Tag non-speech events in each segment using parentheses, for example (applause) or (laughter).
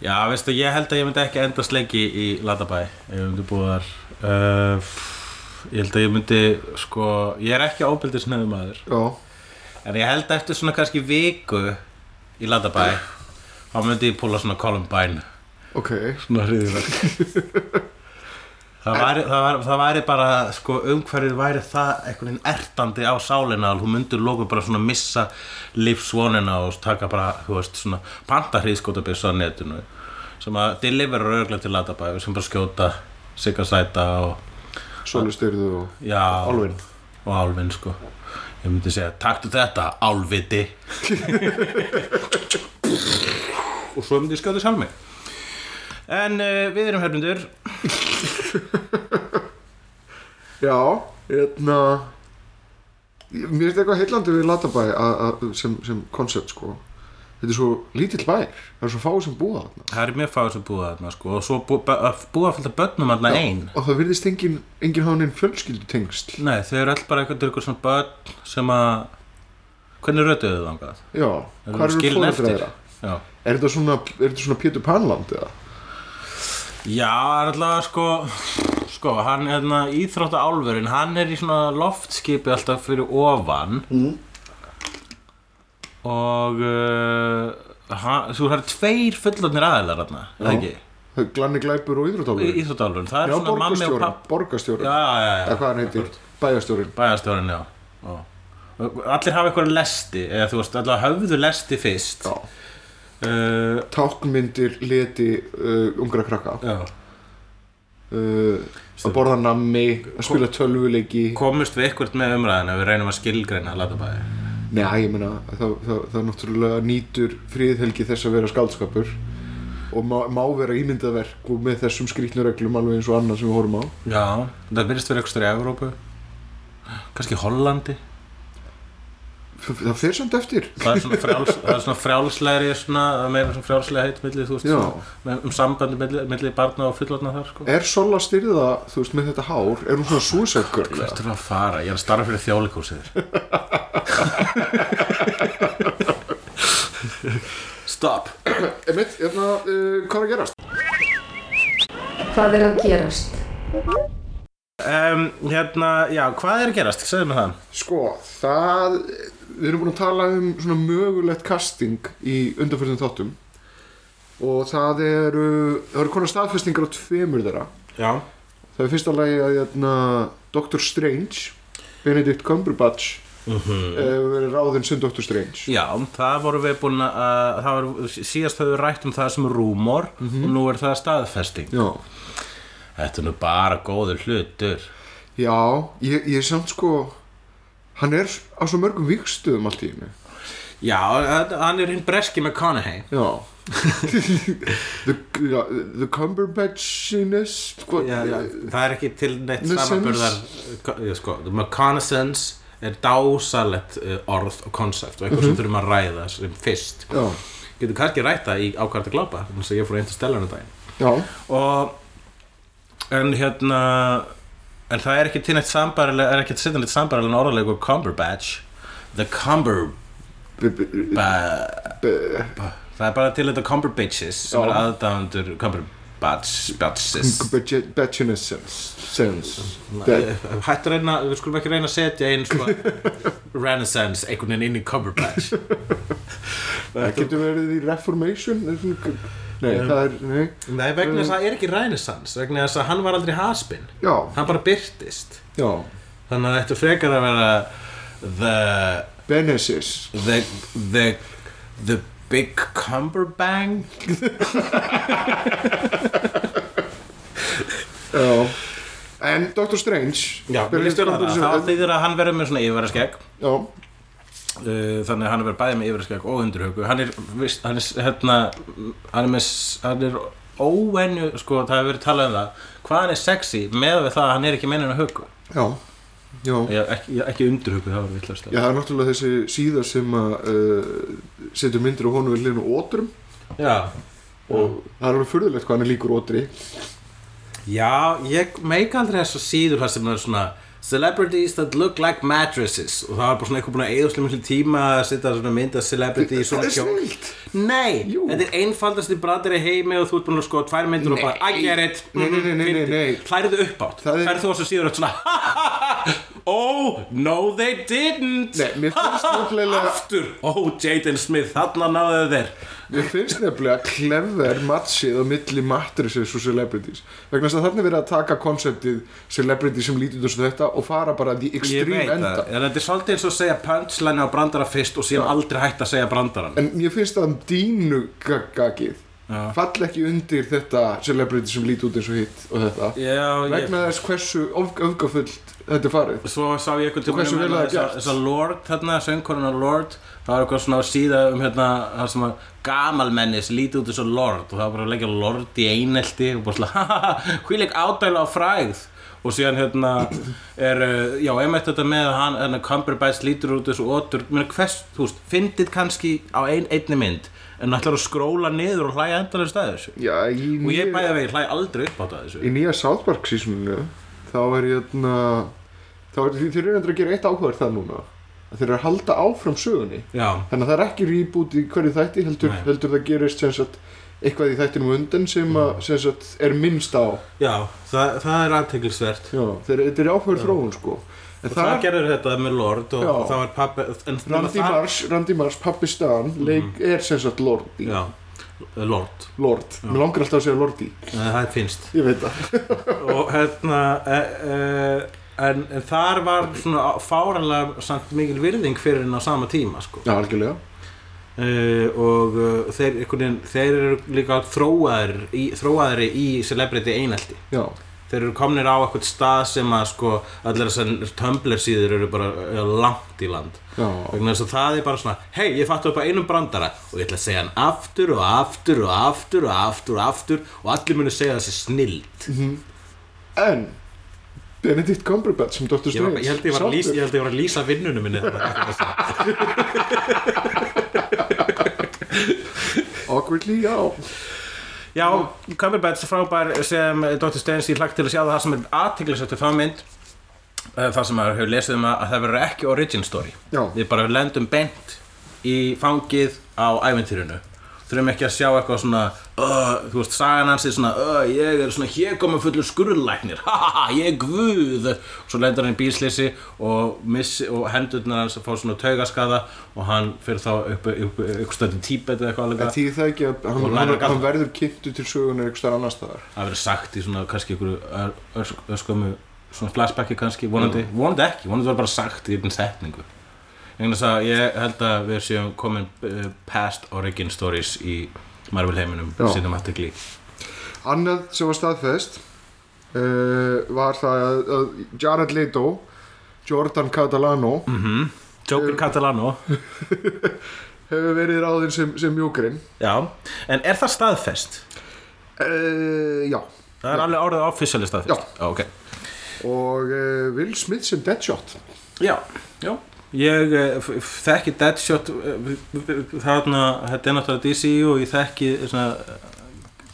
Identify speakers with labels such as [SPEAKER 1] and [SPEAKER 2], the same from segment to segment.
[SPEAKER 1] Já, veistu, ég held að ég myndi ekki endast lengi í Latabæ ef ég myndi búið þar uh, pff, Ég held að ég myndi, sko, ég er ekki ábyldisnöðum maður
[SPEAKER 2] Já,
[SPEAKER 1] En ég held að eftir svona kannski viku í Latabæ þá myndi ég púla svona Columbine
[SPEAKER 2] ok
[SPEAKER 1] svona hriðiverk Það væri, það, væri, það væri bara, sko, umhverfið væri það einhvern veginn ertandi á sálinna þú myndir lóku bara svona missa lífsvonina og taka bara, þú veist, svona panta hríðskotabissu á netinu sem að deliverur örgulega til latabæðu sem bara skjóta sigga sæta og,
[SPEAKER 2] Sólu styrðu og
[SPEAKER 1] já,
[SPEAKER 2] Álfin.
[SPEAKER 1] og álfin, sko ég myndi segja, taktu þetta, álviti og svo myndi ég skjóta sjálf mig en uh, við erum hörnundur
[SPEAKER 2] Já, hérna Mér finnst eitthvað heillandi við Latabæ að- að- sem, sem koncept sko Þetta er svo lítill bær Það er svo fáið sem búa þarna
[SPEAKER 1] Það er mjög fáið sem búa þarna sko og svo bú, bú- búa fullt af börnum þarna ein
[SPEAKER 2] Og það virðist engin, engin hafa neinn fjölskyldu tengsl
[SPEAKER 1] Nei, þau eru alltaf bara einhvern veginn svona börn sem að Hvernig rötuðu þau þangað?
[SPEAKER 2] Já,
[SPEAKER 1] Eru
[SPEAKER 2] hvar
[SPEAKER 1] þau
[SPEAKER 2] eru
[SPEAKER 1] skilin
[SPEAKER 2] fóreldra
[SPEAKER 1] eftir?
[SPEAKER 2] þeirra?
[SPEAKER 1] Já,
[SPEAKER 2] Er þetta svona, er þetta svona Pétur Panland eða?
[SPEAKER 1] Já það er alltaf sko Sko, hann, hérna, íþrótta álfurinn Hann er í svona loftskipi alltaf fyrir ofan mm. Og uh, hann, Þú það eru tveir fullotnir aðilar þarna er Það
[SPEAKER 2] Já.
[SPEAKER 1] ekki?
[SPEAKER 2] Það er Glanni Glæpur og Íþrótálfur?
[SPEAKER 1] Íþrótta álfurinn, það er
[SPEAKER 2] Já,
[SPEAKER 1] svona mammi og
[SPEAKER 2] borgarstjórinn,
[SPEAKER 1] papp Já,
[SPEAKER 2] borgarstjórinn
[SPEAKER 1] já, já, já.
[SPEAKER 2] Eða hvað hann heitir, bæjarstjórinn
[SPEAKER 1] Bæjarstjórinn, já. já. Allir hafa eitthvað lesti, eða þú veist, allir höfðu lesti fyrst.
[SPEAKER 2] Já.
[SPEAKER 1] Uh,
[SPEAKER 2] Táknmyndir, leti, uh, ungra krakka
[SPEAKER 1] já.
[SPEAKER 2] uh, að borða nammi að spila tölvuleiki
[SPEAKER 1] Komust við eitthvað með umræðinu, ef við reynum að skilgreina Latabæði.
[SPEAKER 2] neða ég meina það, það, það náttúrulega nýtur fríðhelgi þess að vera skaldskapur og má, má vera ímyndaverk og með þessum skrýtnu reglum alveg eins og annað sem við horfum á
[SPEAKER 1] Já. Það byrjast verið eitthvað í Evrópu, kannski Hollandi.
[SPEAKER 2] F- það fer samt eftir
[SPEAKER 1] Það er svona, frjáls, það er svona frjálslegri, svona, það er meira svona frjálslega heitt milli, þú veist,
[SPEAKER 2] Já.
[SPEAKER 1] svona, með- um sambandi milli, milli barna og fullorna þar, sko.
[SPEAKER 2] er Sola styrða þú veist með þetta hár er hún svona suicide girl eða?
[SPEAKER 1] Hvert er að fara? Ég er að starfa fyrir þjóðleikúsið. (laughs) Stop.
[SPEAKER 2] einmitt hérna uh, hvað er að gerast
[SPEAKER 3] Hvað er að gerast?
[SPEAKER 1] Um, hérna, já, hvað er að gerast? Segðu mér það.
[SPEAKER 2] sko það við erum búin að tala um svona mögulegt casting í undanfyrðum þáttum og það eru það eru konar staðfestingar á tveimur þeirra
[SPEAKER 1] Já.
[SPEAKER 2] Það er fyrsta lagi að hérna, Dr. Strange, Benedict Cumberbatch, eh, hefur verið ráðinn sem Dr. Strange.
[SPEAKER 1] Já, það voru við búin að, það var, síðast höfum við rætt um það sem rúmor og nú er það staðfesting.
[SPEAKER 2] Já,
[SPEAKER 1] Þetta er nú bara góður hlutur.
[SPEAKER 2] já ég, ég er samt sko, hann er á svo mörgum vikstöðum allt í hennu.
[SPEAKER 1] Já, þetta- hann er hinn breski McConaughey.
[SPEAKER 2] Já. (laughs) the, já, the Cumberbatchiness, sko,
[SPEAKER 1] Já, já, það er ekki til neitt
[SPEAKER 2] Nuisance.
[SPEAKER 1] samanburðar, eh, sko, McConaissance er dásalett eh, orð og konsept og eitthvað sem þurfum að ræða sem fyrst.
[SPEAKER 2] já,
[SPEAKER 1] Getur kannski rætta í ákvært að glápa, þannig að ég fór einn til stelunum daginn.
[SPEAKER 2] já,
[SPEAKER 1] og en hérna en það er ekki til neitt sambarilega er ekki til neitt sambarilega orðalegu og Cumberbatch the Cumberbatch
[SPEAKER 2] b- b-
[SPEAKER 1] það er bara til þetta Cumberbitches sem
[SPEAKER 2] Já.
[SPEAKER 1] er aðdáðandur Cumberbatch batches
[SPEAKER 2] Cumberbatchiness sense, sense. That-
[SPEAKER 1] hættu að reyna við skulum ekki reyna að setja einn sko renaissance einhvern veginn inn í Cumberbatch
[SPEAKER 2] Það getur verið í Reformation, er svona- nei, það er, nei,
[SPEAKER 1] nei vegna þess að það er ekki renaissance vegna þess að hann var aldrei haspin
[SPEAKER 2] já,
[SPEAKER 1] hann bara byrtist
[SPEAKER 2] já,
[SPEAKER 1] þannig að þetta frekar að vera the
[SPEAKER 2] Benesis.
[SPEAKER 1] the the the big cumberbang
[SPEAKER 2] Já. En Dr. Strange
[SPEAKER 1] Já, mér líst vel á það. þá
[SPEAKER 2] Benedict Cumberbatch-
[SPEAKER 1] þýðir að hann verður með svona yfirvaraskegg
[SPEAKER 2] Já,
[SPEAKER 1] uh, þannig að hann verður bæði með yfirvaraskegg og undurhauku hann er, vist, hann er, hérna, hann er, með, s- hann er óvenju sko, það hefur verið talað um það hvað hann er sexy með við það að hann er ekki meinin að hugu
[SPEAKER 2] já, já
[SPEAKER 1] Já, ekki, já, ekki undurhauku, það var vittlust
[SPEAKER 2] Já, það er náttúrulega þessi síða sem að uh, setur myndir á honum við hlýðinu ótrum
[SPEAKER 1] já.
[SPEAKER 2] og það er alveg furðulegt hvað hann er líkur ótri
[SPEAKER 1] Já, ég meika aldrei þess að síður það sem er svona Celebrities that look like mattresses og það var bara svona eitthvað búin að eigða slimmislega tíma að setja svona mynd að celebrity í
[SPEAKER 2] Það
[SPEAKER 1] svona
[SPEAKER 2] er
[SPEAKER 1] kjól
[SPEAKER 2] snilt
[SPEAKER 1] Nei,
[SPEAKER 2] Jú.
[SPEAKER 1] þetta er einfaldast í bradari heimi og þú ert búin að skoða tvær myndir og bara I get it
[SPEAKER 2] Nei, nei, nei, nei, nei, nei.
[SPEAKER 1] Hlæriðu upp átt,
[SPEAKER 2] Það er-
[SPEAKER 1] hlæriðu þú þess að síður átt svona (laughs) Oh, no they didn't
[SPEAKER 2] Nei, mér
[SPEAKER 1] (laughs)
[SPEAKER 2] finnst náttúrulega
[SPEAKER 1] Aftur, oh Jaden Smith, þarna náðu þeir
[SPEAKER 2] Mér finnst nefnilega klefver matchið á milli matrices og celebrities vegna þess að þannig verið að taka konceptið celebrity sem lítur þessu þetta og fara bara the
[SPEAKER 1] Ég
[SPEAKER 2] extreme
[SPEAKER 1] veit
[SPEAKER 2] enda
[SPEAKER 1] það, en þetta er svolítið eins og að segja punchline á brandara fyrst og síðan aldrei hægt að segja brandaran
[SPEAKER 2] En mér finnst að dínu gaggagið
[SPEAKER 1] Já.
[SPEAKER 2] fall ekki undir þetta celebrity sem lítur út eins og hitt og þetta
[SPEAKER 1] Já,
[SPEAKER 2] vegna þess hversu öf öfgafullt þetta er farið
[SPEAKER 1] Svo sá ég um eitthvað
[SPEAKER 2] Og hversu vel það er gert.
[SPEAKER 1] Þess að hérna Lord, þarna, söngkonuna Lord Það var eitthvað svona á síða um hérna Það sem að gamalmennis líti út eins og Lord Og það var bara að leggja Lord í einelti Og bara svona, (laughs) hahaha, hvílík ádæla á frægð Og síðan hérna er, uh, já, einmitt þetta með að hann, hérna, Cumberbatch lítur út þessu otur, mér hvers, þú veist, fyndið kannski á ein, einni mynd, en ætlar að skróla niður og hlæja endalega stæði þessu.
[SPEAKER 2] Já, í
[SPEAKER 1] Og ég
[SPEAKER 2] nýja,
[SPEAKER 1] bæði að vegi hlæja aldrei upp á það þessu.
[SPEAKER 2] í nýja South Park sísuninu þá er ég þarna þá er þeir eru endur að gera eitt áhugaður það núna að þeir eru að halda áfram sögunni
[SPEAKER 1] Já,
[SPEAKER 2] þannig að það er ekki rýbút í hverju þætti heldur,
[SPEAKER 1] Nei.
[SPEAKER 2] heldur það gerist sem sagt, eitthvað í þættinum á undan sem,
[SPEAKER 1] Mm.
[SPEAKER 2] að, sem sagt, er minnst á
[SPEAKER 1] já, það, það er aðteglisvert.
[SPEAKER 2] Já, þeir, þetta er áhverð þróun sko en
[SPEAKER 1] Og það,
[SPEAKER 2] það,
[SPEAKER 1] gerur þetta með Lord og
[SPEAKER 2] Já.
[SPEAKER 1] það var pappi en
[SPEAKER 2] Randy
[SPEAKER 1] það-
[SPEAKER 2] Mars, Randy Mars pappi Stan leik, er sem sagt Lordi
[SPEAKER 1] Mhm. Já, Lord,
[SPEAKER 2] Lord, mér langar alltaf að segja Lordi
[SPEAKER 1] Eh, það finnst
[SPEAKER 2] ég veit það
[SPEAKER 1] og hérna e, e, en, en þar var svona fáranlega samt mikil virðing fyrir henn á sama tíma sko.
[SPEAKER 2] (laughs) Já, algjörlega
[SPEAKER 1] uh, og uh, þeir, einhvern veginn, þeir eru líka þróaðir í, þróaðri í celebrity einelti
[SPEAKER 2] Já,
[SPEAKER 1] þeir eru komnir á eitthvað stað sem að sko, allir þessar Tumblr síður eru bara eh, langt í land
[SPEAKER 2] já,
[SPEAKER 1] vegna þess að það er bara svona hei, ég fattu upp á einum brandara og ég ætla að segja hann aftur og aftur og aftur og aftur og aftur og allir munu segja þessi snillt ég,
[SPEAKER 2] en Benedict Cumberbatch sem Dr.
[SPEAKER 1] var,
[SPEAKER 2] Strange
[SPEAKER 1] ég, held ég, var að lýsa,
[SPEAKER 2] sáttur.
[SPEAKER 1] ég held ég var að lýsa vinnunum minni þarna.
[SPEAKER 2] Awkwardly, já
[SPEAKER 1] já, Cumberbatch frábær sem Dr. Steins ég hlagt til að sjá það sem er aðtiklisvægt við þá mynd eh, það sem maður hefur lesið um að, að það verður ekki origin story
[SPEAKER 2] Já,
[SPEAKER 1] við bara lendum bent í fangið á æventýrinu þurfum ekki að sjá eitthvað svona uh, þú veist, sagan hans er svona uh, ég er svona hér koma fullur skurðlæknir (laughs) ha ha ha, ég er guð svo lendur hann í bíslýsi og, missi- og hendurnar hans fá svona taugaskada og hann fyrir þá upp, upp, upp stöndi tíbet eða eitthvað
[SPEAKER 2] en
[SPEAKER 1] alveg
[SPEAKER 2] því það ekki að hann,
[SPEAKER 1] Og
[SPEAKER 2] hann,
[SPEAKER 1] læra
[SPEAKER 2] hann
[SPEAKER 1] galdra.
[SPEAKER 2] verður kynntu til sögunar einhver starf annars staðar
[SPEAKER 1] að vera sagt í svona kannski ykkur ösk, öskömu svona flashbacki kannski, vonandi,
[SPEAKER 2] Mm.
[SPEAKER 1] vonandi ekki vonandi var bara sagt í einn setningu Vegna þess að ég held að við séum komin eh, past origin stories í Marvel heiminum
[SPEAKER 2] Já.
[SPEAKER 1] cinematically
[SPEAKER 2] Annað sem var staðfest uh, var það að, að Jared Leto, Jordan Catalano
[SPEAKER 1] Joker
[SPEAKER 2] Eh,
[SPEAKER 1] Catalano
[SPEAKER 2] hefur verið ráðinn sem, sem mjókurinn.
[SPEAKER 1] já, en er það staðfest?
[SPEAKER 2] Uh, já,
[SPEAKER 1] það er alveg orðið officially staðfest já, ok
[SPEAKER 2] og uh, Will Smith sem Deadshot.
[SPEAKER 1] Já, já Ég eh, f- f- þekki Deadshot eh, v- v- v- þarna, þetta er náttúrulega DC og ég þekki svona eh,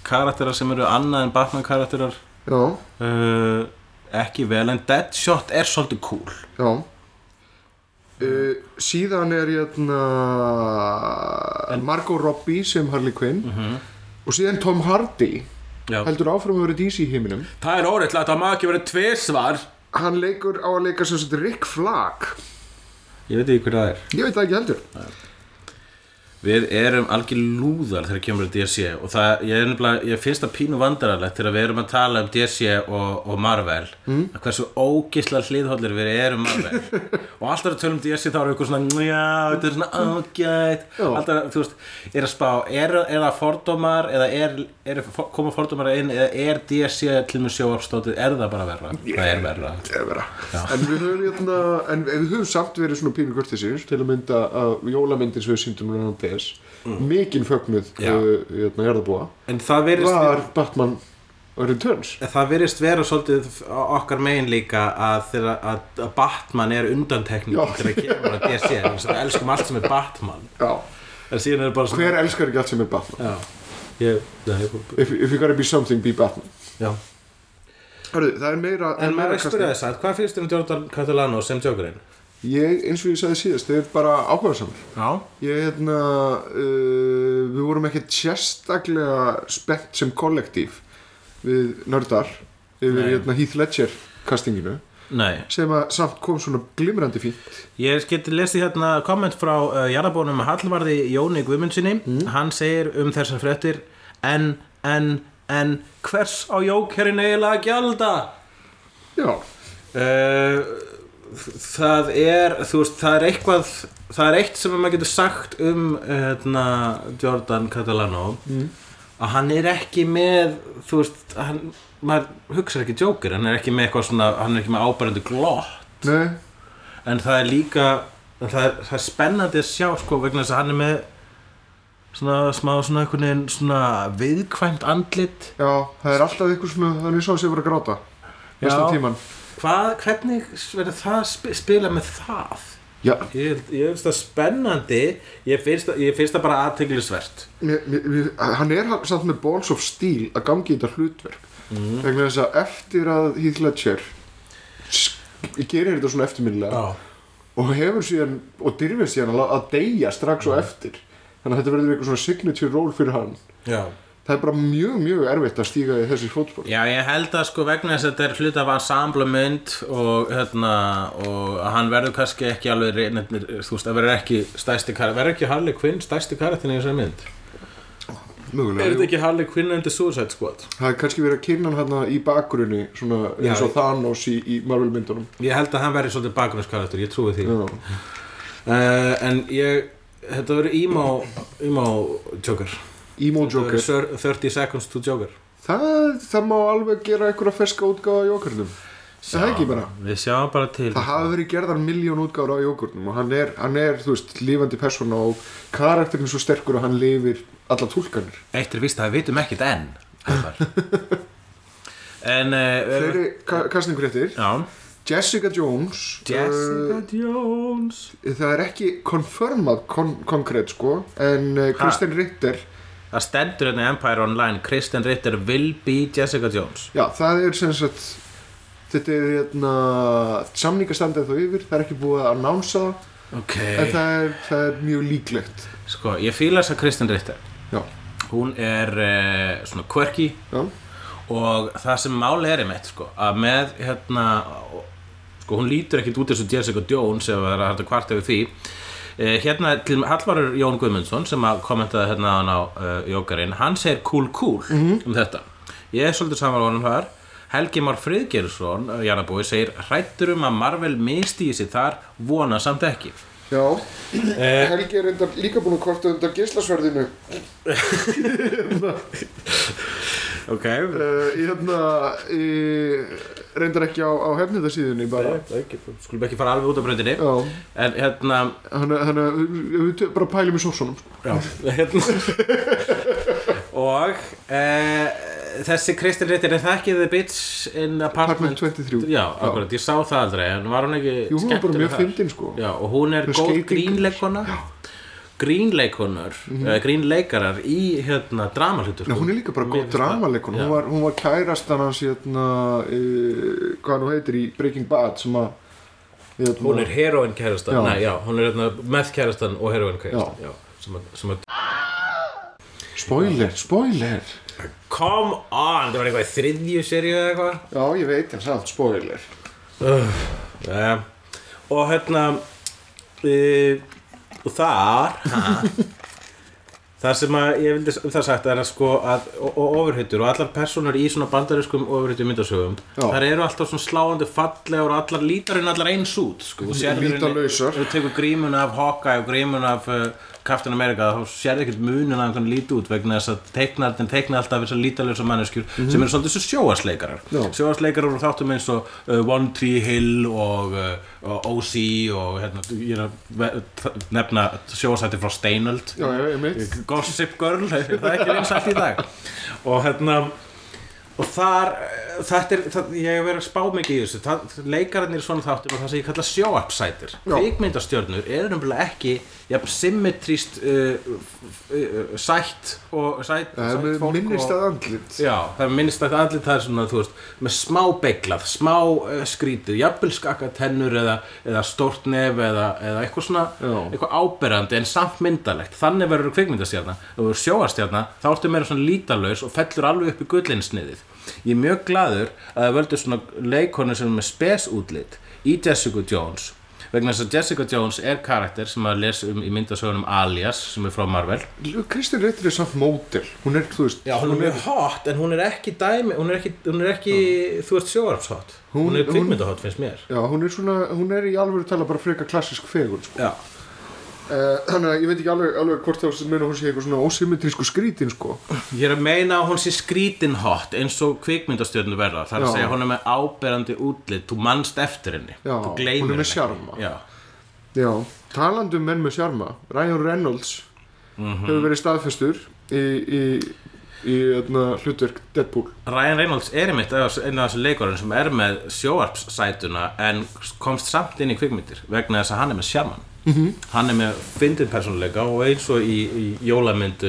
[SPEAKER 1] karakterar sem eru annað en Batman karakterar
[SPEAKER 2] Já,
[SPEAKER 1] uh, ekki vel, en Deadshot er svolítið cool
[SPEAKER 2] já. Uh, síðan er hérna Margot Robbie sem Harley Quinn og síðan Tom Hardy
[SPEAKER 1] Já.
[SPEAKER 2] heldur áfram að vera DC í heiminum
[SPEAKER 1] Það er óreittlega, það má ekki verið tvisvar
[SPEAKER 2] hann leikur á að leika sem sagt Rick Flagg
[SPEAKER 1] Ég veit ekki hver það er
[SPEAKER 2] ég veit það ekki heldur
[SPEAKER 1] Við erum algjör lúðar þegar kemur að DSC og það, ég er nefnilega, ég finnst það pínu vandrarlegt þegar við erum að tala um DSC og, og Marvel mm. að hversu ógisla hliðhóllir við erum Marvel (laughs) og alltaf að tala um DSC þá erum við eitthvað svona, já, þetta er svona ágætt
[SPEAKER 2] Já.
[SPEAKER 1] alltaf, að, þú veist, er að spá er, er það fordómar eða er, er koma fordómar inn eða er DSC til með sjóafstótið, er það bara verra? Það er verra
[SPEAKER 2] Ég vera. En við höfum hérna, en við höfum samt verið svona pínu kurtisir til að mynda að jólamyndin sem við síndum núna á DS mikinn fögnuð
[SPEAKER 1] Mm. Já.
[SPEAKER 2] uh, hérna jarðabúa
[SPEAKER 1] En það verðist
[SPEAKER 2] var Batman Returns
[SPEAKER 1] En Það verðist vera svolítið á- okkar megin líka að, þeirra, að að Batman er undantekning
[SPEAKER 2] Já.
[SPEAKER 1] þegar kemur að DC þannig að við elskum allt sem er Batman
[SPEAKER 2] Já,
[SPEAKER 1] en síðan er bara svona
[SPEAKER 2] hver elskar ekki allt sem er Batman
[SPEAKER 1] Já, ég, það er
[SPEAKER 2] if, if you gotta be something, be Batman
[SPEAKER 1] Já
[SPEAKER 2] Hörðu, það er meira
[SPEAKER 1] En maður er að
[SPEAKER 2] kastið.
[SPEAKER 1] spyrja þess að hvað finnst þér um Jordan Catalano sem Jokerinn?
[SPEAKER 2] Ég, eins og ég sagði síðast, þau er bara áhugaðsamir
[SPEAKER 1] Já
[SPEAKER 2] Ég hérna, uh, við vorum ekkert sérstaklega spennt sem kollektív við nördar yfir
[SPEAKER 1] Nei.
[SPEAKER 2] hérna Heath Ledger kastinginu
[SPEAKER 1] Nei,
[SPEAKER 2] sem að samt kom svona glimrandi fínt
[SPEAKER 1] ég geti lesið hérna komment frá uh, Jarabónum Hallvarði Jóni Guðmundsinni hann segir um þessar fréttir en, en, en hvers á Jokerinn eiginlega að gjalda?
[SPEAKER 2] Já,
[SPEAKER 1] Eh, það er þú veist, það er eitthvað það er eitt sem maður getur sagt um hérna, Jordan Catalano að hann er ekki með þú veist, hann, maður hugsar ekki Joker, hann er ekki með eitthvað svona hann er ekki með ábærandi glott
[SPEAKER 2] nei,
[SPEAKER 1] en það er líka en það er, það er spennandi að sjá sko vegna þess að hann er með svona smá svona einhvern veginn svona viðkvæmt andlit
[SPEAKER 2] já, það er alltaf ykkur svona, það er eins og að sé bara að gráta mestan tíman
[SPEAKER 1] hvað, hvernig verður það sp- spila með það
[SPEAKER 2] Já,
[SPEAKER 1] Ég, held- ég finnst það spennandi ég finnst, það- ég finnst það bara aðteglisvert
[SPEAKER 2] mér, mér, mér, hann er samt með balls of steel að gangi í þetta hlutverk vegna þess að eftir að Heath Ledger sk- gerir þetta svona eftirminnilega og hefur síðan og dyrfir síðan að, að deyja strax og eftir þannig að þetta verður eitthvað svona signature role fyrir hann
[SPEAKER 1] já.
[SPEAKER 2] það er bara mjög mjög erfitt að stíga í þessi fótspor
[SPEAKER 1] já, ég held að sko vegna þess að þetta er hlut af ensemblemynd og, hérna, og að hann verður kannski ekki alveg reynir, þú veist, það verður ekki stæsti karakter, verður ekki Harley Quinn stæsti karakterin í þessari mynd er
[SPEAKER 2] mögulega,
[SPEAKER 1] þetta
[SPEAKER 2] jú.
[SPEAKER 1] ekki Harley Quinn undir Suicide Squad?
[SPEAKER 2] það er kannski verið að kynna hann hérna í bakgrunni svona
[SPEAKER 1] Já,
[SPEAKER 2] eins og
[SPEAKER 1] ég-
[SPEAKER 2] Thanos í, í Marvel myndunum
[SPEAKER 1] ég held að hann verður svolítið bakgrunnskarakter, ég trúi því
[SPEAKER 2] Já.
[SPEAKER 1] uh, en ég, þetta verður emo, emo Joker
[SPEAKER 2] Emo Joker
[SPEAKER 1] Þetta verður 30 seconds to Joker
[SPEAKER 2] það, það má alveg gera einhverja ferska útgáða á jókurnum það er ekki bara
[SPEAKER 1] við sjáum bara til
[SPEAKER 2] það hafa verið gerðar miljón útgáður á jókurnum og hann er, hann er, þú veist, lífandi persóna og karakterin er svo sterkur að hann lifir alla tólkanir
[SPEAKER 1] Eitt er víst að við vitum ekkert enn Elmar. En uh,
[SPEAKER 2] Fleiri ka kastningfréttir
[SPEAKER 1] Já
[SPEAKER 2] Jessica Jones
[SPEAKER 1] Jessica Jones
[SPEAKER 2] uh, Það er ekki konfirmað kon konkrétt sko En uh, Kristen Ritter
[SPEAKER 1] Það stendur hérna í Empire Online Kristen Ritter will be Jessica Jones
[SPEAKER 2] Já, það er sem sagt Þetta er hérna Samningastandið þó yfir, það er ekki búið að annánsa það
[SPEAKER 1] Ok
[SPEAKER 2] En það er, það er mjög líklegt
[SPEAKER 1] Sko, ég fíla þess að Kristen Ritter
[SPEAKER 2] Já,
[SPEAKER 1] Hún er uh, svona quirky
[SPEAKER 2] já,
[SPEAKER 1] og það sem máli er einmitt sko, að með hérna sko hún lítur ekkit út eins og Jessica Jones ef það er hægt að kvarta við því Eh, hérna til Hallvarur Jón Guðmundsson sem að kommentaði hérna á hann á uh, Jókarinn, hann segir cool cool um þetta, ég er svolítið samar á honum þar Helgi Már Friðgeirsson Jarnabói segir hrættur um að Marvel misti í sig þar, vona samt ekki
[SPEAKER 2] já
[SPEAKER 1] Eh.
[SPEAKER 2] Helgi er undar, líka búin að korta undan geislasverðinu
[SPEAKER 1] ok,
[SPEAKER 2] uh, Hérna uh, Reyndar ekki á, á hefniðasíðunni bara
[SPEAKER 1] Eh. skulum ekki fara alveg út af bröndinni
[SPEAKER 2] Já,
[SPEAKER 1] en hérna
[SPEAKER 2] þannig þannig að við, við tö- bara pælum í sósunum sko.
[SPEAKER 1] Já, hérna (laughs) Og e, þessi Kristinn Ritter er það ekki The Bitch in Apartment,
[SPEAKER 2] Apartment 23.
[SPEAKER 1] Já, akkurat, ég sá það aldrei en var hún ekki
[SPEAKER 2] Jú, hún er bara
[SPEAKER 1] skemmtileg
[SPEAKER 2] mjög
[SPEAKER 1] þar?
[SPEAKER 2] fyndin sko
[SPEAKER 1] Já, og hún er
[SPEAKER 2] Með
[SPEAKER 1] góð
[SPEAKER 2] skeytingar.
[SPEAKER 1] grínleikona Grínleikonar mm -hmm. Grínleikarar í hérna dramalutur
[SPEAKER 2] Nei, Mhm. hún er líka bara góð dramaleikon hún var, hún var kærastan hans hérna, uh, hvað hún heitir í Breaking Bad sem að hérna,
[SPEAKER 1] Hún er heroin kærastan,
[SPEAKER 2] Já.
[SPEAKER 1] nei, já, hún er hérna meth kærastan og heroin kærastan
[SPEAKER 2] Já.
[SPEAKER 1] Já, sem að, sem að
[SPEAKER 2] spoiler, spoiler
[SPEAKER 1] Come on, það var eitthvað í þriðju seríu eða eitthvað
[SPEAKER 2] já ég veit en samt spoiler
[SPEAKER 1] Ja. Og hérna e, og þar ha, Það sem að ég vildi um það sagt er að sko að, og, og ofurhyttur og allar personur í svona bandarískum ofurhyttu myndasögum
[SPEAKER 2] Já.
[SPEAKER 1] þar eru alltaf svona sláandi fallegar og allar lítarinn allar eins út sko, og sérðu í rauninni-
[SPEAKER 2] Lítalausar.
[SPEAKER 1] ef þú tekur grímuna af Hawkeye og grímuna af uh, Captain America þá sérðu ekkert munin af einhvern líti út vegna þess að teiknarnir teikna alltaf þessar lítalösa manneskjur sem eru svolítið svo sjóasleikarar
[SPEAKER 2] Mhm. Já.
[SPEAKER 1] sjóasleikarar og þáttum eins og uh, One Tree Hill og, uh, og OC og hérna, ég er að ve- nefna sjóasætti frá Steinöld
[SPEAKER 2] Já, já, ég mitt
[SPEAKER 1] Gossip Girl, er það er ekki vinsalt í dag og hérna og þar, eh, þetta er það, ég hef verið að spá mikið í þessu það, leikararnir í svona þáttum og það sem ég kalla sjóapsætir
[SPEAKER 2] Já.
[SPEAKER 1] kvikmyndastjörnur eru nefnilega ekki jafn, symmetrist uh, uh, sætt og sætt,
[SPEAKER 2] Það er
[SPEAKER 1] sætt
[SPEAKER 2] með
[SPEAKER 1] fólk
[SPEAKER 2] minnist
[SPEAKER 1] og-
[SPEAKER 2] að andlit
[SPEAKER 1] Já, það er minnst að allir það er svona, þú veist, með smá beiglað, smá uh, skrítið, jafnvel skakka tennur eða, eða stórt nef eða, eða eitthvað svona,
[SPEAKER 2] Já.
[SPEAKER 1] eitthvað áberandi en samt myndalegt. Þannig verður kvikmyndastjarna, ef þú verður sjóastjarna, þá ertu meira svona lítalaus og fellur alveg upp í gullinsniðið. Ég er mjög gladur að það völdu svona leikonu sem er með spesútlit í Jessica Jones vegna þess að Jessica Jones er karakter sem að lesa um í myndasögunum Alias sem er frá Marvel
[SPEAKER 2] Kristinn Reytir er samt mótil Hún er, þú veist
[SPEAKER 1] Já, hún er mjög hot, en hún er ekki dæmi, hún er ekki, hún er ekki þú ert sjóarpshot. Hún,
[SPEAKER 2] Hún-
[SPEAKER 1] er kvikmyndahot, finnst mér.
[SPEAKER 2] Já, hún er svona, hún er í alveg tala bara freka klassisk fegur sko.
[SPEAKER 1] Já.
[SPEAKER 2] uh, Þannig að ég veit ekki alveg, alveg hvort það meina hún sé eitthvað svona ósymmetrísku skrítin sko.
[SPEAKER 1] Ég er að meina að hún sé skrítin hot eins og kvikmyndastjörnur verða. Það er að
[SPEAKER 2] Já.
[SPEAKER 1] segja hún er með áberandi útlit, þú mannst eftir henni.
[SPEAKER 2] Já,
[SPEAKER 1] þú gleymir
[SPEAKER 2] hún er með
[SPEAKER 1] henni.
[SPEAKER 2] sjarma.
[SPEAKER 1] Já,
[SPEAKER 2] Já, talandi um menn með sjarma Ryan Reynolds hefur verið staðfestur í, í, í, í hlutverk Deadpool
[SPEAKER 1] Ryan Reynolds er einmitt einn af þessu leikurinn sem er með sjóarpssætuna en komst samt inn í kvikmyndir vegna þess að hann er með sjaman hann er með fyndin persónuleika og eins og í, í jólamyndu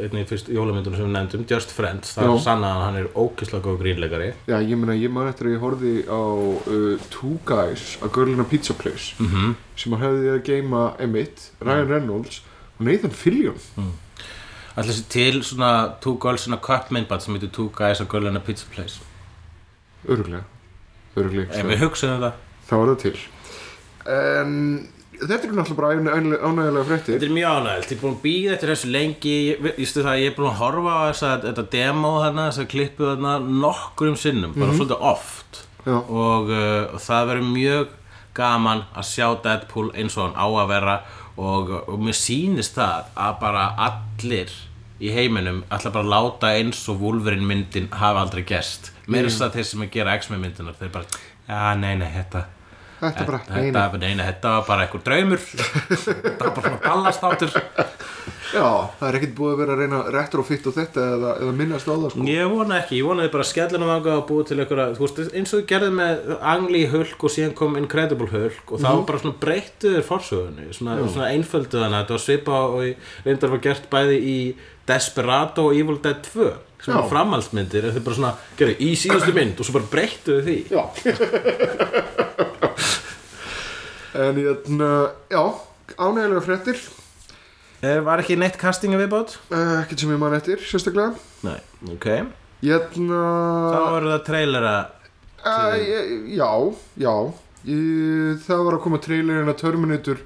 [SPEAKER 1] einnig fyrst jólamyndunum sem við nefndum Just Friends, það
[SPEAKER 2] Já.
[SPEAKER 1] er sann að hann er ókislega góð grínleikari
[SPEAKER 2] Já, ég meina, ég man eftir að ég horfði á uh, Two Guys, a Girl in a Pizza Place -hmm. sem að hefði að geima Emmett, Ryan Reynolds og Nathan Fillion
[SPEAKER 1] alltaf sér til svona Two Girls in a Cup myndband sem heitir Two Guys a Girl in a Pizza Place
[SPEAKER 2] öruglega, öruglega
[SPEAKER 1] ef við hugsaðum það
[SPEAKER 2] þá var það til en þetta er náttúrulega bara ánægilega, ánægilega fréttir
[SPEAKER 1] Þetta er mjög ánægilt, ég er búin að býða eftir þessu lengi Ég, ég stu það, ég er búin að horfa á þessa, þetta demo þarna, þessa klippu þarna nokkrum sinnum, bara svolítið oft
[SPEAKER 2] Já.
[SPEAKER 1] og uh, það verður mjög gaman að sjá Deadpool eins og hann á að vera og, og mér sýnist það að bara allir í heiminum ætla bara að láta eins og Wolverine myndin hafa aldrei gerst meira þess að þeir sem að gera X-Men myndinar þeir bara, já nei nei þetta
[SPEAKER 2] þetta er bara, nei,
[SPEAKER 1] Þetta, nei, nei, þetta var bara einhver draumur
[SPEAKER 2] (laughs)
[SPEAKER 1] Þetta var bara svona gallastáttur
[SPEAKER 2] já, það er ekkert búið að vera að reyna retrofitt og þetta eða, eða minnast á það sko.
[SPEAKER 1] Ég vona ekki, ég vona þið bara skellinu vanga og búið til einhverja, þú veist, eins og þið gerðið með Angli í Hulk og síðan kom Incredible Hulk og þá
[SPEAKER 2] Mhm.
[SPEAKER 1] bara svona breyttuður forsögunni, svona, svona einfölduð hana þetta var svipa og í- reyndar var gert bæði í Desperado og Evil Dead 2 sem
[SPEAKER 2] Já.
[SPEAKER 1] var framhaldsmyndir, þau bara svona gerðu í
[SPEAKER 2] (coughs)
[SPEAKER 1] síðustu mynd og svo bara breyttuðu því
[SPEAKER 2] já (laughs) en hérna, já ánægilega fréttir
[SPEAKER 1] Eh, Var ekki neitt casting að viðbót?
[SPEAKER 2] Uh, ekkert sem ég man eftir, sérstaklega Hérna,
[SPEAKER 1] Nei, ok Þá
[SPEAKER 2] Jæna
[SPEAKER 1] eru það trailera
[SPEAKER 2] uh, ég- Já, já ég, Það var að koma trailerinn að Terminator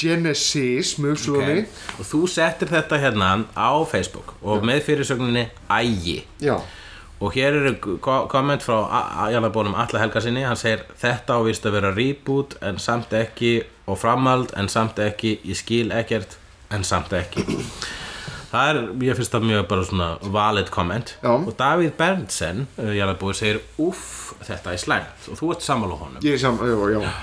[SPEAKER 2] Genesis með uppslóni
[SPEAKER 1] okay. og þú settir þetta hérna á Facebook og með fyrirsögninni ægi
[SPEAKER 2] Já,
[SPEAKER 1] og hér eru ko- komment frá Jálabónum Alla Helga sinni, hann segir þetta ávist að vera reboot en samt ekki og framhald en samt ekki ég skil ekkert en samt (clears throat) ekki það er, ég finnst það mjög bara svona valid komment
[SPEAKER 2] Já.
[SPEAKER 1] og Davíð Berndsen, Jálabói segir uff, þetta er slæmt og þú ert sammála honum
[SPEAKER 2] ég er saman, já, já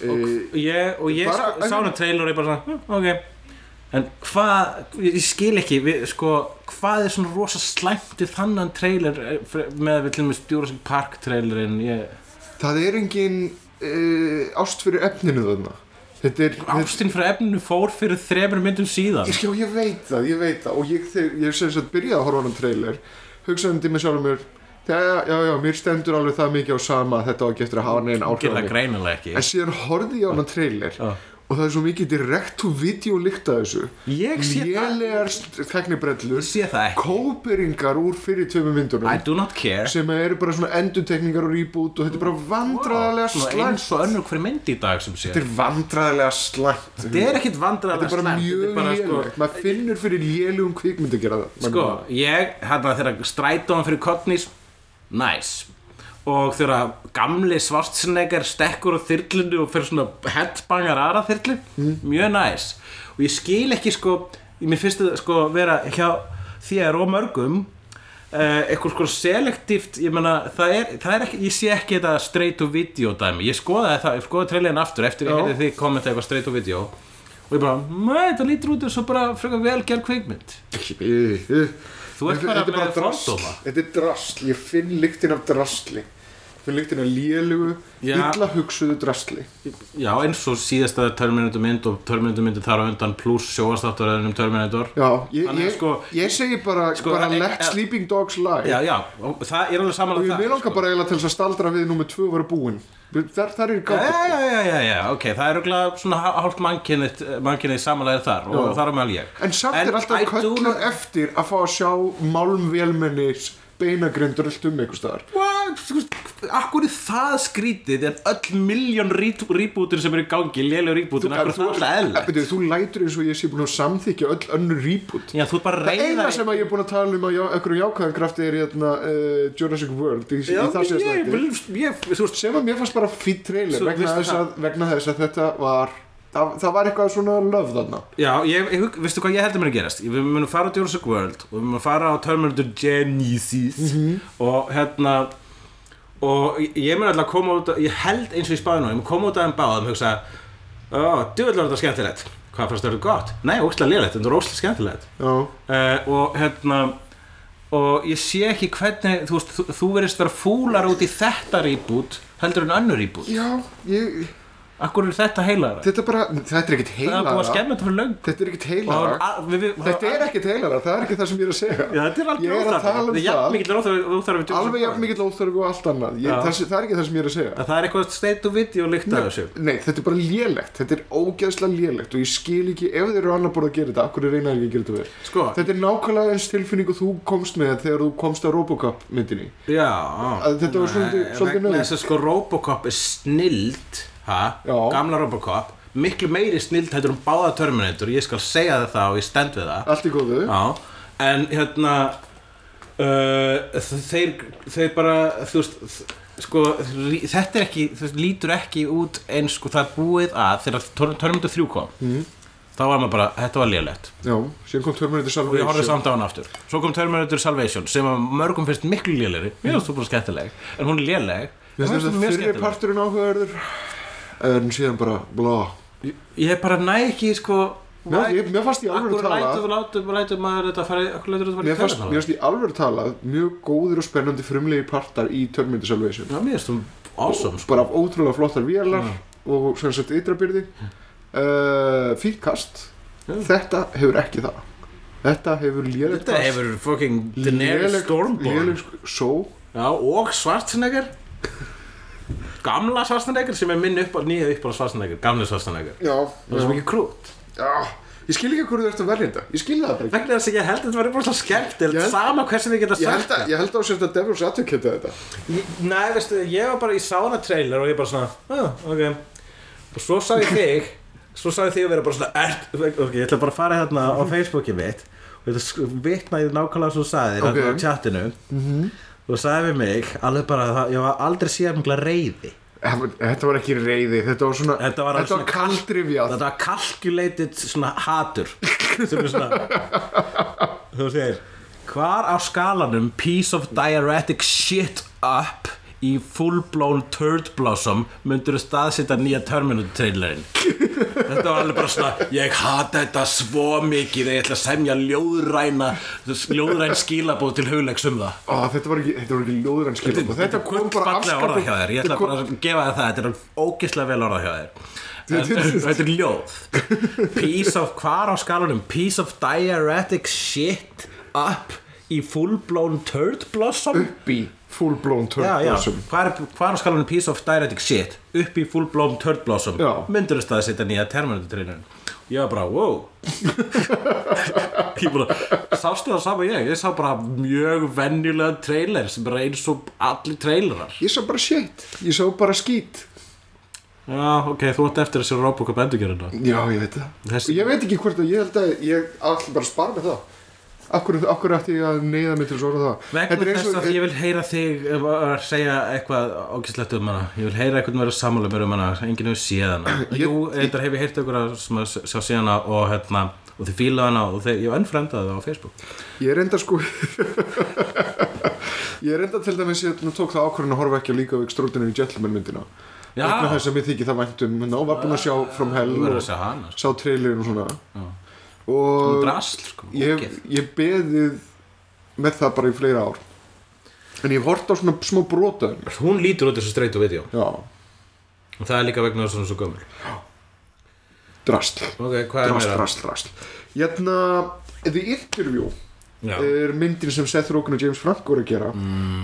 [SPEAKER 2] Uh,
[SPEAKER 1] ég, og ég sko-
[SPEAKER 2] Bara-
[SPEAKER 1] sá hann trailer og ég bara svona, "Hm, ok en hvað, ég ég skil ekki við, sko, hvað er svona rosa slæmt við þannan trailer eh, fre- með við til og með Jurassic Park trailerin ég,
[SPEAKER 2] Það er engin uh, ást fyrir efninu þarna Þetta er þetta-
[SPEAKER 1] ástinn frá efninu fór fyrir þremur myndum síðan
[SPEAKER 2] Já, ég veit það, ég veit það og ég, þegar, ég sem sagt byrjaði að horfa á hann trailer hugsaðandi með sjálfum mér já, já, já, mér stendur alveg það mikið á sama að þetta á ekki eftir að hafa neginn áhrif á
[SPEAKER 1] gerði það
[SPEAKER 2] mig."
[SPEAKER 1] greinilega ekki
[SPEAKER 2] en síðan horfði ég á hann trailer
[SPEAKER 1] Já.
[SPEAKER 2] og það er svo mikið direkt to video líkt að þessu
[SPEAKER 1] Ég sé það-
[SPEAKER 2] lélegar teknibrellur
[SPEAKER 1] Sé það ekki.
[SPEAKER 2] kóperingar úr fyrir tveimur myndunum
[SPEAKER 1] I do not care
[SPEAKER 2] sem eru bara svona endutekningar og reboot og þetta er bara vandræðalega
[SPEAKER 1] Svona
[SPEAKER 2] slæmt
[SPEAKER 1] Sko, eins og önnur hver mynd í dag sem sé
[SPEAKER 2] þetta er vandræðalega slæmt
[SPEAKER 1] Þetta er ekkit vandræðalega
[SPEAKER 2] þetta er bara
[SPEAKER 1] slæmt,
[SPEAKER 2] mjög
[SPEAKER 1] bara, sko,
[SPEAKER 2] lélegt maður finnur fyrir lélugum kvikmynd að gera það
[SPEAKER 1] Sko, ég, hérna þegar strætóan fyrir Kotnis, næs Og þegar gamli svartsnegar stekkur á þyrlunni og fyrir svona headbangar aðra þyrlu, mjög næs Og ég skil ekki, sko, í mér finnst þetta, sko, vera hjá þér og mörgum Uh, eitthvað sko selektíft ég meina, það er, það er ekki, ég sé ekki þetta straight to video dæmi, ég skoðaði það ég skoðaði trailerin aftur eftir
[SPEAKER 2] Já.
[SPEAKER 1] ég heyrði þið kommenta eitthvað straight to video og ég bara, mæ, þetta lítur út eins og bara frekar vel gerð kveikmynd Þú ert bara
[SPEAKER 2] eh, þetta er bara
[SPEAKER 1] með
[SPEAKER 2] drasl
[SPEAKER 1] fordóma.
[SPEAKER 2] þetta er drasl, ég finn lyktin af drasli ég finn lyktin af lélugu
[SPEAKER 1] Já.
[SPEAKER 2] illa hugsuðu drasli
[SPEAKER 1] Já, eins og síðasta Terminator mynd og Terminator myndi þar á undan pluss sjóastátturöðunum Terminator
[SPEAKER 2] Já, ég,
[SPEAKER 1] Þannig að
[SPEAKER 2] ég,
[SPEAKER 1] sko-
[SPEAKER 2] ég segi bara,
[SPEAKER 1] sko,
[SPEAKER 2] bara
[SPEAKER 1] hann er-
[SPEAKER 2] let
[SPEAKER 1] eh,
[SPEAKER 2] sleeping dogs lie
[SPEAKER 1] Já, já, og það er alveg
[SPEAKER 2] og
[SPEAKER 1] samanlega
[SPEAKER 2] ég vil langa
[SPEAKER 1] sko.
[SPEAKER 2] bara eiginlega til þess að staldra við nummer 2 var búinn þar, þar er
[SPEAKER 1] Já,
[SPEAKER 2] gátt
[SPEAKER 1] já, já, já, já, ok, það er auðvitað svona hálft mannkynnið mannkynnið samanlega þar og
[SPEAKER 2] Já.
[SPEAKER 1] þar á meðal ég
[SPEAKER 2] en samt er
[SPEAKER 1] I
[SPEAKER 2] alltaf
[SPEAKER 1] do
[SPEAKER 2] köllun
[SPEAKER 1] not-
[SPEAKER 2] eftir að fá að sjá málmvélmennis beinagrindur allt um einhver staðar
[SPEAKER 1] What? Þú veist, Akkur er það skrítið en öll miljón rýbútur sem eru í gangi, lélega rýbútur, akkur er það alltaf eðlilegt
[SPEAKER 2] Þú, þú lætur eins og ég sé búin að samþykja öll önnur reboot
[SPEAKER 1] Já, þú er bara að
[SPEAKER 2] Það
[SPEAKER 1] reyna
[SPEAKER 2] eina sem að ég er búin að tala um að já, okkur jákvæðan krafti er hérna uh, Jurassic World í,
[SPEAKER 1] Já, ég,
[SPEAKER 2] í það
[SPEAKER 1] ég,
[SPEAKER 2] séðstakti
[SPEAKER 1] ég, þú veist,
[SPEAKER 2] sem að mér fannst bara fýtt trailer
[SPEAKER 1] Svo,
[SPEAKER 2] vegna
[SPEAKER 1] veistu
[SPEAKER 2] þess, að, vegna þess að þetta var það, það var eitthvað svona löf þarna
[SPEAKER 1] Já, ég, ég, hug- veistu hvað ég heldur mér að gerast Við munum fara á Jurassic World og við munum fara á Terminator Genesis og hérna og ég- ég mun alltaf að koma út að- ég held eins og ég spáði nú, ég mun koma út að þeim báðum og hugsa, ó, djúvöld var þetta skemmtilegt hvað fannst þetta gott? Nei, óslega lélegt, þetta er óslega skemmtilegt
[SPEAKER 2] Já,
[SPEAKER 1] uh, og hérna og ég sé ekki hvernig þú, veist, þú, þú verðist vera fúlar út í þetta rýbút heldur en önnur rýbút
[SPEAKER 2] já ég,
[SPEAKER 1] Akkur er þetta heilara?
[SPEAKER 2] þetta bara, þetta er ekkit
[SPEAKER 1] Það er búið að
[SPEAKER 2] heilara
[SPEAKER 1] skemmu þetta fyrir löng
[SPEAKER 2] Þetta er ekkit
[SPEAKER 1] Og
[SPEAKER 2] heilara
[SPEAKER 1] að- við- við-
[SPEAKER 2] Þetta er ekkit heilara, það er ekki það sem ég er að segja
[SPEAKER 1] Já, þetta er alveg
[SPEAKER 2] Ég er að tala um
[SPEAKER 1] Þetta er jafn
[SPEAKER 2] það.
[SPEAKER 1] mikill óþarfi óþarfi
[SPEAKER 2] Alveg jafn mikill óþörfi og allt annað ég,
[SPEAKER 1] Já.
[SPEAKER 2] það, það er ekki það sem ég er að segja
[SPEAKER 1] Að Það er eitthvað state of video líkt að þessu
[SPEAKER 2] Nei, þetta er bara lélegt, þetta er ógeðslega lélegt og ég skil ekki, ef þeir eru annar borð að gera þetta, af hverju reyna þeir ekki að gera þetta verið?
[SPEAKER 1] Sko,
[SPEAKER 2] Þetta er nákvæmlega eins tilfinning og þú komst með þegar þú komst að Robocop myndinni.
[SPEAKER 1] já
[SPEAKER 2] Að þetta var svolítið-
[SPEAKER 1] Nei,
[SPEAKER 2] svolítið
[SPEAKER 1] vegna
[SPEAKER 2] nauðug.
[SPEAKER 1] Þess að sko Robocop er snild ha?
[SPEAKER 2] Já.
[SPEAKER 1] Gamla Robocop Miklu meiri snild hættur um báða Terminator Ég skal segja þér það og ég stend við það
[SPEAKER 2] Allt í góðu.
[SPEAKER 1] Já En hérna uh, þeir, þeir bara Þú veist þ- Sko, rí- þetta er ekki, þú veist, lítur ekki út eins sko það er búið að þegar Tor- Terminator 3 kom
[SPEAKER 2] Mm.
[SPEAKER 1] þá var maður bara, þetta var lélegt
[SPEAKER 2] Já, síðan kom Terminator
[SPEAKER 1] og ég horfði
[SPEAKER 2] Salvation.
[SPEAKER 1] samt á hann aftur svo kom Terminator Salvation sem að mörgum finnst miklu lélegri mér finnst þú bara skemmtileg en hún er léleg en mér
[SPEAKER 2] Mér finnst
[SPEAKER 1] hún
[SPEAKER 2] þetta
[SPEAKER 1] mjög
[SPEAKER 2] fyrri
[SPEAKER 1] skemmtileg
[SPEAKER 2] parturinn áhugaður, en síðan bara, blá.
[SPEAKER 1] ég er bara næ ekki sko
[SPEAKER 2] Mér, ég, mér fannst ég alveg
[SPEAKER 1] akkur
[SPEAKER 2] að
[SPEAKER 1] lætur
[SPEAKER 2] tala,
[SPEAKER 1] þú látur lætur maður þetta fara akkur lætur þetta fara
[SPEAKER 2] mér
[SPEAKER 1] í
[SPEAKER 2] fannst,
[SPEAKER 1] tölvuna?
[SPEAKER 2] mér fannst ég alveg að tala, mjög góðir og spennandi frumlegi partar í Terminator Salvation.
[SPEAKER 1] já mér finnst þú awesome sko
[SPEAKER 2] Bara af ótrúlega flottar vélar og sem sagt ytrabyrði. Uh, Fýrt kast.
[SPEAKER 1] Já.
[SPEAKER 2] Þetta hefur ekki það. Þetta hefur lélegt
[SPEAKER 1] þetta hefur fucking Daenerys
[SPEAKER 2] Léleg-
[SPEAKER 1] Stormborn
[SPEAKER 2] léleg só
[SPEAKER 1] já og Schwarzenegger gamla Schwarzenegger sem er minn upp nýja upp á Schwarzenegger gamli Schwarzenegger
[SPEAKER 2] já,
[SPEAKER 1] það er svo mikið krút
[SPEAKER 2] já, ég skil ekki hverju þú ert að velja þetta ég skil það bara ekki
[SPEAKER 1] vegna þess að ég held að þetta var bara svo skemmt
[SPEAKER 2] Ég held-
[SPEAKER 1] sama hversu þið geta
[SPEAKER 2] ég
[SPEAKER 1] sagt
[SPEAKER 2] held að, ég held að sérst að Devils Advocate þetta
[SPEAKER 1] Ég- Nei, veistu, ég var bara í sána trailer og ég bara svona, ah, ok og svo sagði þig svo sagði þig að vera bara svona ert, ok, ég ætla bara að fara hérna á Facebooki mitt og þetta vitnaði nákvæmlega svo sagði okay. á
[SPEAKER 2] Ok.
[SPEAKER 1] chatinu mm og sagði við mig alveg bara að það- ég var aldrei síðan mikla reyði
[SPEAKER 2] Eh, þetta var ekki reyði, þetta var svona
[SPEAKER 1] Þetta var alveg
[SPEAKER 2] þetta var
[SPEAKER 1] svona-
[SPEAKER 2] kaldrifjað
[SPEAKER 1] þetta var calculated svona hatur sem er svona þú segir hvar á skalanum piece of diuretic shit up í full blown turd blossom myndur þú staðsita nýja Terminator trailerinn þetta var alveg bara svona ég hata þetta svo mikið ég ætla að semja ljóðræna ljóðræn skilabóð til huglegs um það
[SPEAKER 2] Ó, þetta var ekki, þetta var ekki ljóður en skil þetta, kom bara
[SPEAKER 1] afskapur orða hjá þér, ég ætla
[SPEAKER 2] kom-
[SPEAKER 1] bara að gefa þér það þetta er ógeðslega vel orða hjá þér en, þetta er ljóð piece of, hvar á skalunum piece of diuretic shit up í full blown turd blossom
[SPEAKER 2] upp í full blown
[SPEAKER 1] já,
[SPEAKER 2] turd
[SPEAKER 1] já,
[SPEAKER 2] blossom
[SPEAKER 1] hvað er, hvað er skalan piece of diuretic shit upp í full blown turd blossom
[SPEAKER 2] Já.
[SPEAKER 1] myndurist að setja nýja Terminator trailerin ég var bara, wow ég bara, sástu það sama ég ég sá bara mjög venjulega trailer sem er eins og allir trailerar
[SPEAKER 2] ég sá bara shit, ég sá bara skít
[SPEAKER 1] já, ok, þú átt eftir að sér Robocop endurgerðina
[SPEAKER 2] já, ég veit það
[SPEAKER 1] Þessi-
[SPEAKER 2] ég veit ekki hvort að ég held að ég ætla bara að spara með það akkur, akkur ætti ég að neyða mig til að svara það
[SPEAKER 1] vegna
[SPEAKER 2] Þetta er eins
[SPEAKER 1] þess
[SPEAKER 2] og-
[SPEAKER 1] að ég vil heyra þig eh, að segja eitthvað ágæslegt um hana ég vil heyra eitthvað vera sammála mér um hana enginn hefur séð hana
[SPEAKER 2] Ég-
[SPEAKER 1] jú, þetta hef ég heyrt okkur að sem að s- sjá séð hana og hérna og þið fíla hana og þið, ég önnfremdaði það á Facebook
[SPEAKER 2] Ég reynda sko (laughs) Ég reynda til dæmis ég nú tók það ákvörðin að horfa ekki á líka við Extraordinary Gentleman myndina
[SPEAKER 1] Já.
[SPEAKER 2] vegna þess að mér þykir það væntum og var búin að sjá From Hell
[SPEAKER 1] þú verður
[SPEAKER 2] og
[SPEAKER 1] að sjá hana sko.
[SPEAKER 2] sá trailerin og svona
[SPEAKER 1] Þú
[SPEAKER 2] og
[SPEAKER 1] drasl sko,
[SPEAKER 2] ég,
[SPEAKER 1] ógeð.
[SPEAKER 2] ég beðið með það bara í fleira ár en ég hef hort á svona smá brota hennar.
[SPEAKER 1] hún lítur út þessu streytu video
[SPEAKER 2] Já,
[SPEAKER 1] og það er líka vegna þess að hún er svo gömul
[SPEAKER 2] drast
[SPEAKER 1] ok, hvað er
[SPEAKER 2] Drast,
[SPEAKER 1] meira?
[SPEAKER 2] drast, drast Hérna, The Interview
[SPEAKER 1] Já. Mm.
[SPEAKER 2] er myndin sem Seth Rogen og James Franco voru að gera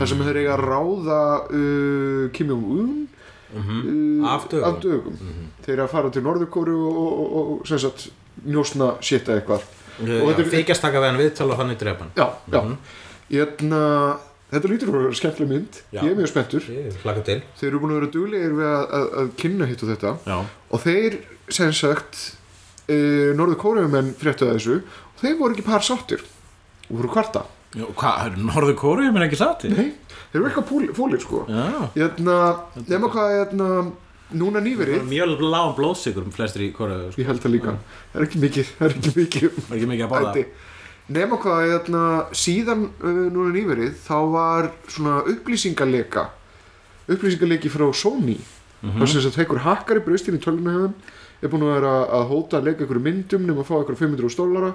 [SPEAKER 2] þar sem þeir eiga að ráða uh, Kim Jong-un uh,
[SPEAKER 1] Mhm. Af dögum. Mhm.
[SPEAKER 2] af dögum. þeir eru að fara til Norðurkóru og, og, og, og sem sagt njósna sétta eitthvað
[SPEAKER 1] Já, Mhm.
[SPEAKER 2] og þetta er-
[SPEAKER 1] þykjast taka við hann viðtal og hann er drepan
[SPEAKER 2] já, já Hérna, þetta lítur að vera skemmtileg mynd
[SPEAKER 1] Já.
[SPEAKER 2] ég er mjög spenntur
[SPEAKER 1] ég hlaka til
[SPEAKER 2] þeir eru búin að vera duglegir við að, að, að kynna hitt og þetta
[SPEAKER 1] já,
[SPEAKER 2] og þeir sem sagt uh, Norðurkórumenn fréttu að þessu og þeir voru ekki par sáttir og voru kvarta
[SPEAKER 1] já hvað, norðu kóru ég minn ekki sati
[SPEAKER 2] Nei, þeir eru eitthvað fólir sko
[SPEAKER 1] já
[SPEAKER 2] Jæna, nema hvað jæna, núna
[SPEAKER 1] Það er
[SPEAKER 2] nýverið
[SPEAKER 1] mjög lág blóðsigur um flestir í kóru sko.
[SPEAKER 2] Ég held það líka, það er ekki mikið Það er ekki mikið um
[SPEAKER 1] Það er ekki mikið að borða
[SPEAKER 2] æti. Nema hvað jæna, síðan uh, núna nýverið þá var svona upplýsingarleika upplýsingarleiki frá Sony mm
[SPEAKER 1] Mhm.
[SPEAKER 2] -hmm. þess að einhver hakkar í brustin í tölvunahefum er búin að vera að hóta að leika einhverju myndum nema að fá einhverju 500 dólara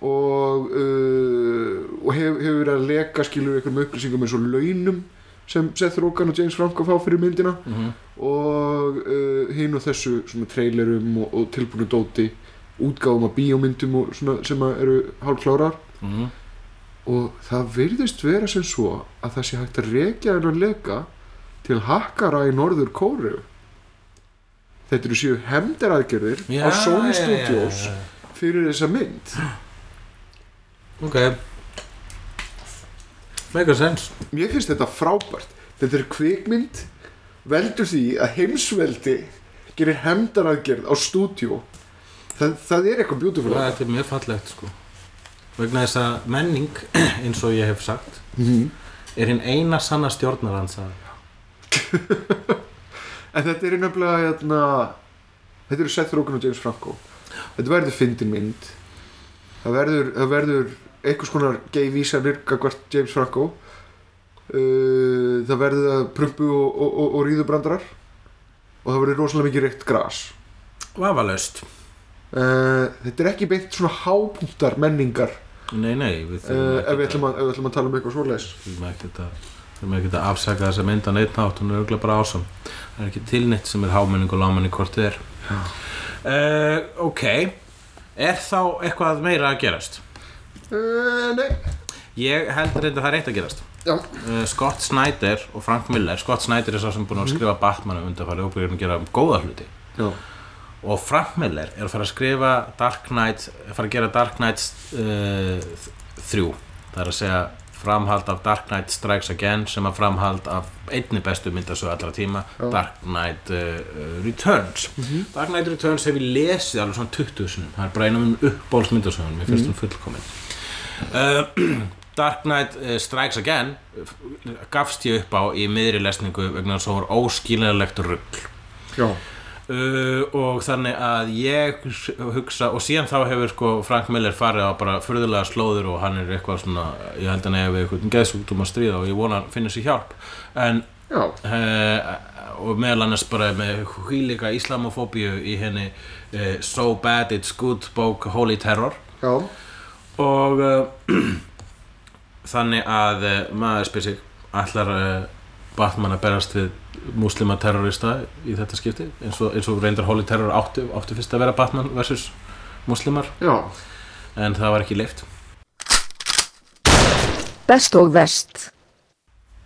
[SPEAKER 2] og, uh, og hefur hef verið að leka skilur einhverjum upplýsingum eins og launum sem Seth Rogen og James Franco fá fyrir myndina
[SPEAKER 1] Mhm.
[SPEAKER 2] og uh, hinn og þessu svona trailerum og, og tilbúinu dóti útgáfum af bíómyndum og svona sem að eru hálfklárar
[SPEAKER 1] Mhm.
[SPEAKER 2] og það virðist vera sem svo að það sé hægt að rekja hennan leka til hakkara í norður kóru þetta eru séu hemdaraðgerðir
[SPEAKER 1] Já,
[SPEAKER 2] á Sony
[SPEAKER 1] já, já, já,
[SPEAKER 2] Studios
[SPEAKER 1] já.
[SPEAKER 2] fyrir þessa mynd
[SPEAKER 1] Ok Make a sense
[SPEAKER 2] mér finnst þetta frábært þetta er kvikmynd veldur því að heimsveldi gerir hemdaraðgerð á stúdíó það, það er eitthvað beautiful
[SPEAKER 1] Það er mjög fallegt sko Vegna þess að menning (clears throat) eins og ég hef sagt
[SPEAKER 2] Mhm.
[SPEAKER 1] er hinn eina sanna stjórnar hans að
[SPEAKER 2] en þetta er nefnilega hérna, þetta eru Seth Rogen og James Franco þetta verður fyndin mynd það verður, það verður einhvers konar gay vísanir gagvart James Franco uh, það verður prumpu og, og, og, og ríðubrandrar og það verður rosalega mikið reykt gras
[SPEAKER 1] vafalaust
[SPEAKER 2] uh, þetta er ekki beint svona hápunktar menningar
[SPEAKER 1] Nei, nei, við
[SPEAKER 2] uh, ef,
[SPEAKER 1] þurfum
[SPEAKER 2] við ætlum að, ef við ætlum að tala um eitthvað svoleiðis
[SPEAKER 1] þurfum ekkert að þurfum ekkert að afsaka þess að mynda neitt nátt hún er auðvitað bara ásam það er ekki tilnett sem er hámenning og lámenning hvort þið er uh, Ok Er þá eitthvað meira að gerast?
[SPEAKER 2] uh, nei,
[SPEAKER 1] Ég held reynda það er eitt að gerast
[SPEAKER 2] já,
[SPEAKER 1] Uh, Scott Snyder og Frank Miller Scott Snyder er sá sem er búinn að skrifa Batman um undarfæri og búinn að gera góða hluti
[SPEAKER 2] já.
[SPEAKER 1] og Frank Miller er að fara að skrifa Dark Knight, er að fara að gera Dark Knight uh, 3 það er að segja framhald af Dark Knight Strikes Again sem að framhald af einni bestu myndasögu allra tíma Dark Knight uh, uh, Returns
[SPEAKER 2] Mhm.
[SPEAKER 1] Dark Knight Returns hef ég lesið alveg svona 20 sinum, það er bara einu af minn uppbóls myndasögun, mér finnst mm hún fullkomin uh, (clears throat) Dark Knight uh, Strikes Again uh, gafst ég upp á í miðri lesningu vegna þess að hún var óskiljanlegt rugl
[SPEAKER 2] já.
[SPEAKER 1] uh, og þannig að ég hugsa og síðan þá hefur sko Frank Miller farið á bara furðulega slóður og hann er eitthvað svona ég held að hann hefur eitthvað geðsúktum að stríða og ég vona að hann finna sér hjálp en
[SPEAKER 2] já.
[SPEAKER 1] uh, og meðal annars bara með hýlika islamofóbíu í henni uh, So Bad It's Good bók Holy Terror
[SPEAKER 2] já.
[SPEAKER 1] og uh, (clears throat) þannig að uh, maður spyr sig ætlar uh, Batman að berast við múslima terrorista í þetta skipti eins og, eins og reyndar Holy Terror áttu, áttu fyrst að vera Batman versus múslimar
[SPEAKER 2] já.
[SPEAKER 1] en það var ekki leift
[SPEAKER 3] Best og vest.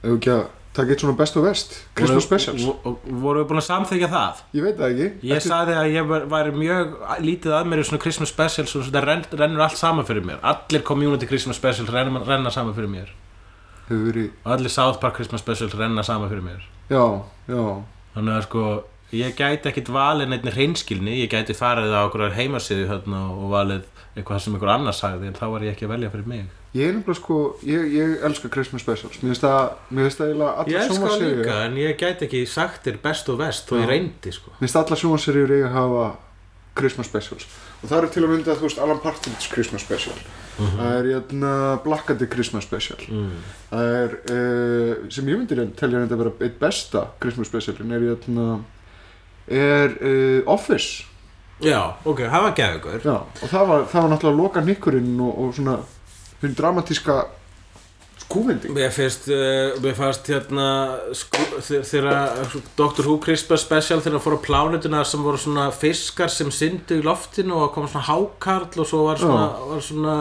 [SPEAKER 2] Ef ekki að taka eitt svona best of best Christmas specials
[SPEAKER 1] Vo- vo- Vorum við búin að samþykja það?
[SPEAKER 2] Ég veit það ekki
[SPEAKER 1] Ég
[SPEAKER 2] Eftir-
[SPEAKER 1] sagði að ég var- væri mjög lítið að mér í svona Christmas specials og þetta renn, rennur allt saman fyrir mér Allir community Christmas specials renna, renna saman fyrir mér
[SPEAKER 2] Hefur verið
[SPEAKER 1] og allir South Park Christmas specials renna saman fyrir mér
[SPEAKER 2] Já, já
[SPEAKER 1] Þannig að sko ég gæti ekkit valið neitt hreinskilni ég gæti farið á okkur heimasíðu hérna og valið eitthvað sem einhver annar sagði en þá var ég ekki að velja fyrir mig
[SPEAKER 2] Ég er nefnilega sko Ég, ég elska Christmas specials Mér finnst það Mér finnst það eiginlega
[SPEAKER 1] Ég
[SPEAKER 2] allar
[SPEAKER 1] elska það
[SPEAKER 2] sjónvarseríur-
[SPEAKER 1] líka en ég gæti ekki sagt þér best og vest þó ég
[SPEAKER 2] Já.
[SPEAKER 1] reyndi sko
[SPEAKER 2] Mér finnst allar sjónvarseríur eiga að hafa Christmas specials og það eru til að mynda þú veist Alan Partridge Christmas special
[SPEAKER 1] Mhm.
[SPEAKER 2] það er jæna Blackaddy Christmas special
[SPEAKER 1] Mm.
[SPEAKER 2] það er uh, sem ég myndir telja þetta vera eitt besta Christmas specialin er jæna er uh, Office
[SPEAKER 1] Já, ok, það var geðugur
[SPEAKER 2] Já, og það var, það var náttúrulega loka nikkurinn og, og svona hinn dramatíska skúvending
[SPEAKER 1] Mér finnst, uh, mér fannst hérna sku- þe- þegar Dr. Who Christmas special þegar hann fór á plánutuna sem voru svona fiskar sem syndu í loftinu og kom svona hákarl og svo var svona, var svona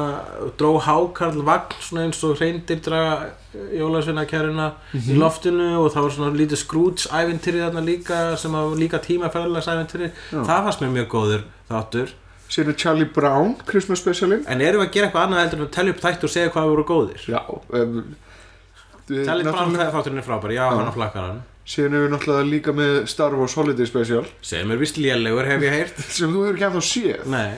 [SPEAKER 1] dró hákarl vagn svona eins og reyndir draga jólagsveina kæruna
[SPEAKER 2] Mhm.
[SPEAKER 1] í loftinu og það var svona lítið Scrooge ævintýri þarna líka sem var líka tímaferðalags ævintýri það fannst mér mjög góður þáttur
[SPEAKER 2] sér er Charlie Brown Christmas specialin
[SPEAKER 1] en erum við að gera eitthvað annað heldur en að telja upp þætt og segja hvað voru góðir
[SPEAKER 2] já um, við-
[SPEAKER 1] Tellir bara
[SPEAKER 2] náttúrulega-
[SPEAKER 1] að þátturinn er frábær, já, hann á flakkaran
[SPEAKER 2] síðan erum við náttúrulega líka með Star Wars Holiday Special (laughs)
[SPEAKER 1] sem er vist lélegur hef ég heyrt
[SPEAKER 2] sem þú hefur ekki ennþá
[SPEAKER 1] (laughs)
[SPEAKER 2] séð
[SPEAKER 1] Nei,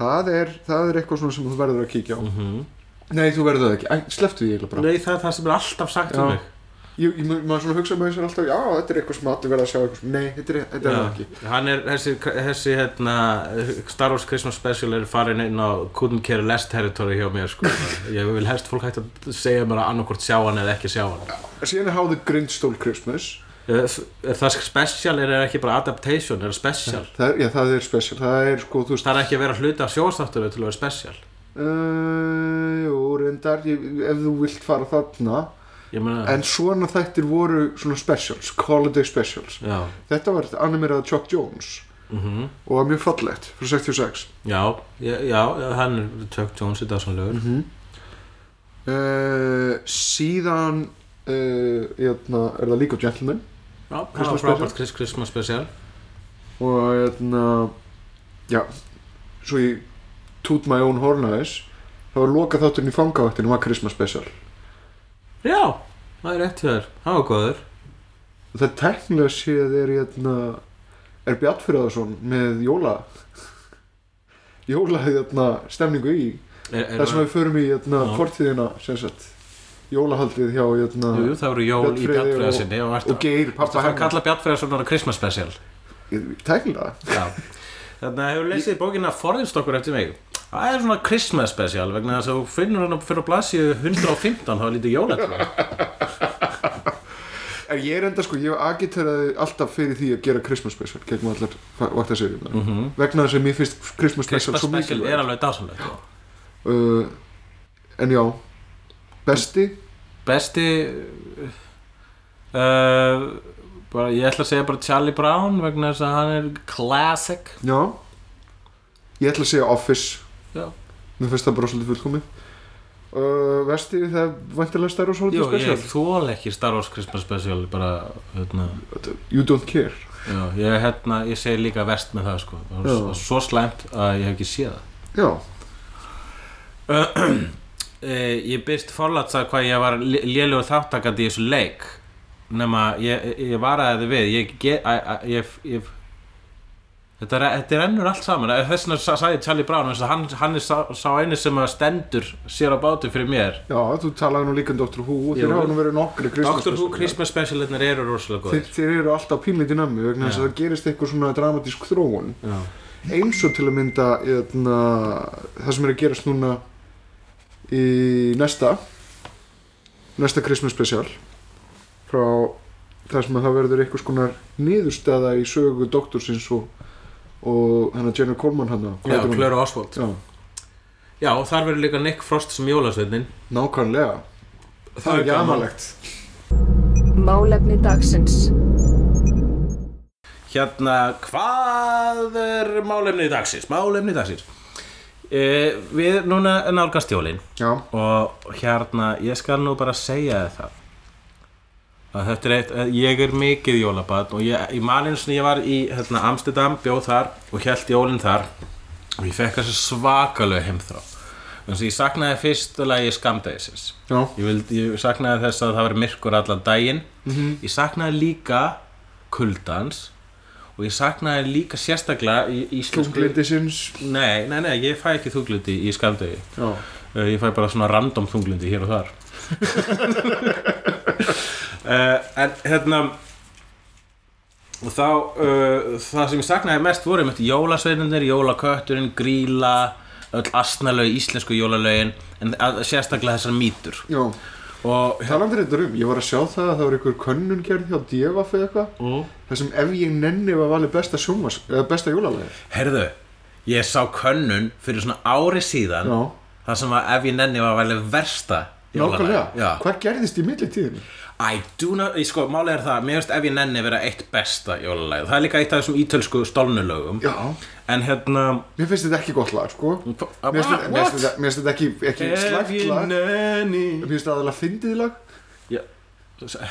[SPEAKER 2] það er, það er eitthvað svona sem þú verður að kíkja á
[SPEAKER 1] Mhm.
[SPEAKER 2] nei þú verður það ekki, Æ, slepptu því eiginlega bara
[SPEAKER 1] Mm. Nei það er það sem er alltaf sagt um
[SPEAKER 2] Já.
[SPEAKER 1] mig
[SPEAKER 2] ég, ég, maður svona hugsa með þessar alltaf já þetta er eitthvað sem allir verða að sjá eitthvað sem, nei þetta er, þetta er það ekki
[SPEAKER 1] Já. Hann er, þessi, þessi hérna, Star Wars Christmas Special er farin inn á couldn't care less territory hjá mér
[SPEAKER 2] (laughs)
[SPEAKER 1] sko. Ég vil helst fólk hægt að segja mér að annarkvort sjá hann eða ekki sjá hann
[SPEAKER 2] síðan er How the Grinch Stole Christmas
[SPEAKER 1] Eh, Það special er ekki bara adaptation, er special
[SPEAKER 2] það er, já það er special, það er sko þú veist
[SPEAKER 1] Það er ekki að vera hluti af sjóastáttur til að vera special
[SPEAKER 2] uh, jú reyndar ég, ef þú vilt fara þarna
[SPEAKER 1] Ég meina,
[SPEAKER 2] en svona þættir voru svona specials, holiday specials
[SPEAKER 1] já,
[SPEAKER 2] þetta var animerað Chuck Jones
[SPEAKER 1] mhm
[SPEAKER 2] og var mjög fallegt frá 66
[SPEAKER 1] Já, já, já, hann er Chuck Jones í dásanlegur
[SPEAKER 2] mm uh, síðan uh, jötna, er það líka Gentleman
[SPEAKER 1] Já, hann var
[SPEAKER 2] Christmas
[SPEAKER 1] frábært Chris- Christmas Special
[SPEAKER 2] og jötna, já svo ég toot my own horn aðeins það var loka þátturinn í fangavættinu var Christmas special
[SPEAKER 1] Já, það er rétt hjá þér, hann var góður
[SPEAKER 2] og það teknilega séð er jötna, er Bjartfyrðarsson með jóla jóla jötna, stemningu í
[SPEAKER 1] er, er,
[SPEAKER 2] það sem við förum í jötna,
[SPEAKER 1] Já.
[SPEAKER 2] fortíðina sem sagt jólahaldið hjá jötna,
[SPEAKER 1] Jú, jú, það voru jól í
[SPEAKER 2] Bjarnfreði og-
[SPEAKER 1] Bjartfriðarsinni og
[SPEAKER 2] og
[SPEAKER 1] ertu
[SPEAKER 2] Geir,
[SPEAKER 1] ertu að
[SPEAKER 2] pappa
[SPEAKER 1] fara að
[SPEAKER 2] hennar
[SPEAKER 1] kalla Bjartfriðarssonara Christmas Special
[SPEAKER 2] teknilega
[SPEAKER 1] Já Þannig að hefur lesið bókina Forðist okkur eftir mig Það er svona Christmas Special vegna þess að þú finnur hann fyrir að blasið 115 þá er lítið jólættur
[SPEAKER 2] En ég er enda sko, ég agiteraði alltaf fyrir því að gera Christmas special gegnum allar vaktaseríunar mm -hmm. vegna þess að mér finnst (laughs) Christmas special
[SPEAKER 1] Mhm. Christmas
[SPEAKER 2] svo
[SPEAKER 1] Special er
[SPEAKER 2] mikilvæg
[SPEAKER 1] alveg dásanlegt sko.
[SPEAKER 2] uh, En já, besti
[SPEAKER 1] Besti uh, bara, Ég ætla að segja bara Charlie Brown vegna þess að hann er classic
[SPEAKER 2] Já Ég ætla að segja Office
[SPEAKER 1] Já.
[SPEAKER 2] Mér finnst það bara svolítið fullkomi uh, Vesti, það er væntilega stærra og svolítið
[SPEAKER 1] Jú,
[SPEAKER 2] special
[SPEAKER 1] ég þól ekki Star Wars Christmas Special bara, hérna,
[SPEAKER 2] You don't care
[SPEAKER 1] já, ég, hérna, ég segi líka vest með það sko. það
[SPEAKER 2] Já.
[SPEAKER 1] var s- svo slæmt að ég hef ekki séð það
[SPEAKER 2] Já,
[SPEAKER 1] e, Ég byrst forlatsa hvað ég var lélugur þáttakandi í þessu leik nema ég, ég varaði þið við ég, ge- a, a, ég, ég Þetta, re- þetta rennur allt saman Eh, þess vegna sa- sagði Charlie Brown þess að hann, hann er sá, sá einu sem að stendur sér á bátu fyrir mér
[SPEAKER 2] já, þú talaði nú líka um Dr. Who
[SPEAKER 1] Jú.
[SPEAKER 2] Þeir hafa nú verið nokkri Christmas
[SPEAKER 1] Doctor Who
[SPEAKER 2] special.
[SPEAKER 1] Christmas Specialinnar eru rosalega
[SPEAKER 2] Þeir,
[SPEAKER 1] góðir
[SPEAKER 2] þeir eru alltaf pínlítið nammi vegna þess
[SPEAKER 1] Já.
[SPEAKER 2] að það gerist eitthvað svona dramatísk þróun
[SPEAKER 1] Já.
[SPEAKER 2] eins og til að mynda eðna, það sem er að gerast núna í næsta næsta Christmas special frá þar sem að það verður einhvers konar niðurstaða í sögu doktorsins og, og hennar Jenna Coleman hann
[SPEAKER 1] Já, Claire Oswald
[SPEAKER 2] Já,
[SPEAKER 1] Já, og þar verður líka Nick Frost sem jólasveitnin
[SPEAKER 2] nákvæmlega það,
[SPEAKER 1] er
[SPEAKER 2] er ekki
[SPEAKER 1] gaman.
[SPEAKER 2] amalegt
[SPEAKER 3] Málefni dagsins.
[SPEAKER 1] Hérna, hvað er málefnið dagsins? Málefnið dagsins e, Við núna nálgast jólin
[SPEAKER 2] Já,
[SPEAKER 1] og hérna, ég skal nú bara segja þér það að þetta er eitt, ég er mikið jólabat og ég, í malinu sinni ég var í hérna, Amsterdam, bjóð þar og held jólin þar og ég fekk þessi svakalega heimþrá þannig að ég saknaði fyrst og lagi skamdæðisins
[SPEAKER 2] Já.
[SPEAKER 1] ég, vild, ég saknaði þess að það var myrkur allan daginn ég saknaði líka kuldans og ég saknaði líka sérstaklega í, í
[SPEAKER 2] Tunglindisins
[SPEAKER 1] nei, nei, nei, ég fæ ekki þunglindi í skamdæði
[SPEAKER 2] Já,
[SPEAKER 1] Uh, Ég fæ bara svona random þunglindi hér og (laughs) þar uh, En hérna Og þá uh, Það sem ég saknaði mest voru einmitt Jólasveininir, jólakötturinn, gríla Öll astnalög, íslensku jólalögin En að, sérstaklega þessar mýtur
[SPEAKER 2] já
[SPEAKER 1] Og
[SPEAKER 2] Talandir þetta um, ég var að sjá það að það var einhver könnun gerð hjá Devaf eða eitthvað
[SPEAKER 1] mm.
[SPEAKER 2] Það sem ef ég nenni var valið besta sjómas eða besta jólalæði
[SPEAKER 1] Herðu, ég sá könnun Fyrir svona ári síðan
[SPEAKER 2] Já,
[SPEAKER 1] Það sem að ef ég nenni var vel versta jólalagið.
[SPEAKER 2] nákvæmlega
[SPEAKER 1] Já.
[SPEAKER 2] Hvað gerðist í millitíðinni?
[SPEAKER 1] I do not, ég sko, málið er það mér finnst ef ég nenni vera eitt besta jólalæð það er líka eitt af þessum ítölsku stolnulögum
[SPEAKER 2] Já,
[SPEAKER 1] en hérna
[SPEAKER 2] mér finnst þetta ekki gott lag, sko Mér finnst þetta- mér finnst
[SPEAKER 1] what?
[SPEAKER 2] þetta- mér finnst þetta ekki, ekki
[SPEAKER 1] Ef
[SPEAKER 2] slægt
[SPEAKER 1] ég
[SPEAKER 2] lag Mér
[SPEAKER 1] nenni
[SPEAKER 2] finnst þetta aðalega fyndið lag
[SPEAKER 1] Já,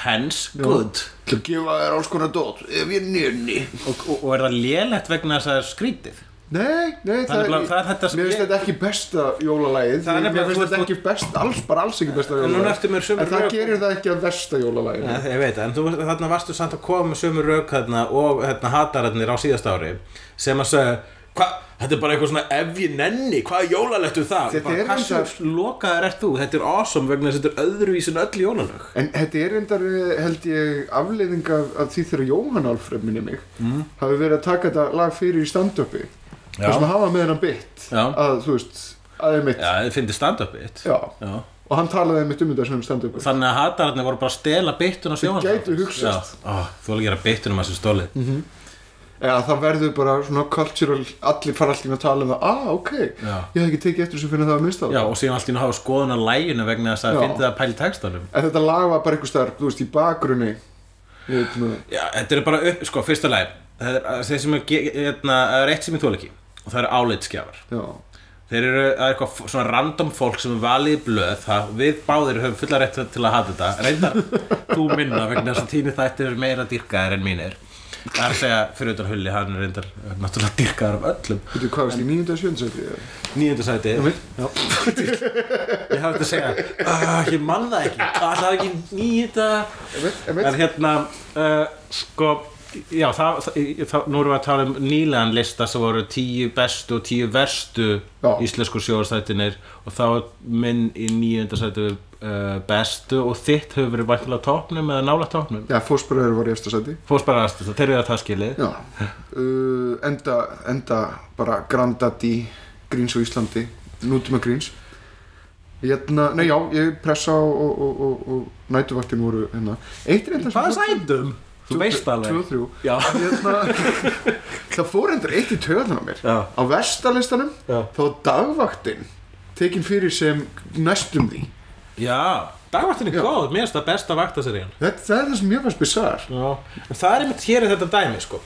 [SPEAKER 1] hens, good
[SPEAKER 2] Til að gefa þér alls konar dót Ef ég nenni
[SPEAKER 1] og, og, og er það lélegt vegna þess að það er skrítið
[SPEAKER 2] Nei, nei,
[SPEAKER 1] Það er nefnilega- það er þetta sem
[SPEAKER 2] Mér finnst
[SPEAKER 1] ég-
[SPEAKER 2] þetta ekki besta jólalægið
[SPEAKER 1] Það er
[SPEAKER 2] Mér
[SPEAKER 1] nefnilega-
[SPEAKER 2] finnst
[SPEAKER 1] þú-
[SPEAKER 2] þetta
[SPEAKER 1] þú-
[SPEAKER 2] ekki best, alls, bara alls ekki besta
[SPEAKER 1] núna
[SPEAKER 2] jólalægið
[SPEAKER 1] ertu með sömu
[SPEAKER 2] En það
[SPEAKER 1] rök-
[SPEAKER 2] gerir það ekki að versta jólalægið
[SPEAKER 1] Nei, ég veit, en þú, þarna varstu samt að koma með sömu rauk þarna og hérna hatararnir á síðast ári sem að segja Hva? Þetta er bara eitthvað svona ef ég nenni, hvað er jólalegt um það?
[SPEAKER 2] Þetta
[SPEAKER 1] Ég bara,
[SPEAKER 2] er
[SPEAKER 1] Hversu
[SPEAKER 2] reyndar-
[SPEAKER 1] lokaður ert þú? Þetta er awesome vegna þess að þetta er öðruvísin öll jólalög
[SPEAKER 2] En þetta er reyndar, eh, held ég, afleiðing af, af því þegar Jóhann Alfred minni mig
[SPEAKER 1] Mm.
[SPEAKER 2] hafi verið að taka þetta lag fyrir í stand-upi
[SPEAKER 1] Já.
[SPEAKER 2] þess að hafa með hennan bytt
[SPEAKER 1] Já.
[SPEAKER 2] að, þú veist, að er mitt
[SPEAKER 1] Já, þið finnir stand-up bit
[SPEAKER 2] Já.
[SPEAKER 1] Já.
[SPEAKER 2] og hann talaði mitt um þetta sem stand-upi
[SPEAKER 1] Þannig að hatararnir voru bara að stela bitun á sjónvarp
[SPEAKER 2] gætu hugsast. Mhm.
[SPEAKER 1] Já, Ó, Þú vil gera bitunum að þessu stóli mm -hmm.
[SPEAKER 2] eða það verður bara svona cultural allir fara allir að tala um það ah, ok,
[SPEAKER 1] Já.
[SPEAKER 2] ég hef ekki tekið eftir sem finna það að mista það
[SPEAKER 1] Já, og síðan allt í nú hafa skoðun á læginu vegna þess að
[SPEAKER 2] Já.
[SPEAKER 1] finnir það að pæli textanum
[SPEAKER 2] En þetta lag var bara einhvers staðar, þú veist, í bakgrunni Ég veit nú
[SPEAKER 1] Já, þetta er bara upp, sko, fyrsta lagi Það er, þeir sem er, ge- hérna, það er eitt sem ég þól ekki og það eru álitskjafar
[SPEAKER 2] Já,
[SPEAKER 1] Þeir eru það er eitthvað f- svona random fólk sem er valið í blöð það, Við báðir höfum fulla rétt til að hata þetta Reyndar þú minna vegna þess að tíni þættir eru meira dýrkaðir en mínir Það er að segja fyrir utan hulli hann er reyndar eh, náttúrulega dýrkaðar af öllum
[SPEAKER 2] veitu hvað veist, í 97. sæti eða?
[SPEAKER 1] Nýjöndu sæti
[SPEAKER 2] veit.
[SPEAKER 1] Já. Ég hafði þetta að segja "Ah, Ég man það ekki Ah, Það er ekki nýjönda
[SPEAKER 2] Ég veit, ég
[SPEAKER 1] En
[SPEAKER 2] veit
[SPEAKER 1] hérna, uh, sko, já, það, það, það, nú erum við að tala um nýlegan lista sem voru tíu bestu og tíu verstu
[SPEAKER 2] Já.
[SPEAKER 1] íslensku sjóðarstættinir og þá er minn í nýjönda sæti uh, bestu og þitt hefur verið væntilega á topnum eða nála topnum.
[SPEAKER 2] Já, fósbræður var í eftir sæti
[SPEAKER 1] Fórst bara aðstu það, þeir eru að það skilið.
[SPEAKER 2] Já, uh, enda, enda bara Grandaddy Gríns á Íslandi Nútum að Gríns Hérna, nei já, ég pressa og, og, og, og, og nætuvaktin voru hérna Eitt er enda
[SPEAKER 1] Hvað er sætum? Þú veist alveg.
[SPEAKER 2] Tvö, þrjú
[SPEAKER 1] Já.
[SPEAKER 2] hérna,
[SPEAKER 1] (laughs)
[SPEAKER 2] Það fór endur eitt í töðan á mér
[SPEAKER 1] Já.
[SPEAKER 2] Á vestalistanum
[SPEAKER 1] Já.
[SPEAKER 2] Þá var dagvaktin Tekin fyrir sem næstum því
[SPEAKER 1] Já, dagvartin er
[SPEAKER 2] Já.
[SPEAKER 1] góð, mér finnst það best að vakta sér í hann.
[SPEAKER 2] Þetta það er það sem mjög fannst bizarr
[SPEAKER 1] Já, en það er einmitt hér í þetta dæmi sko.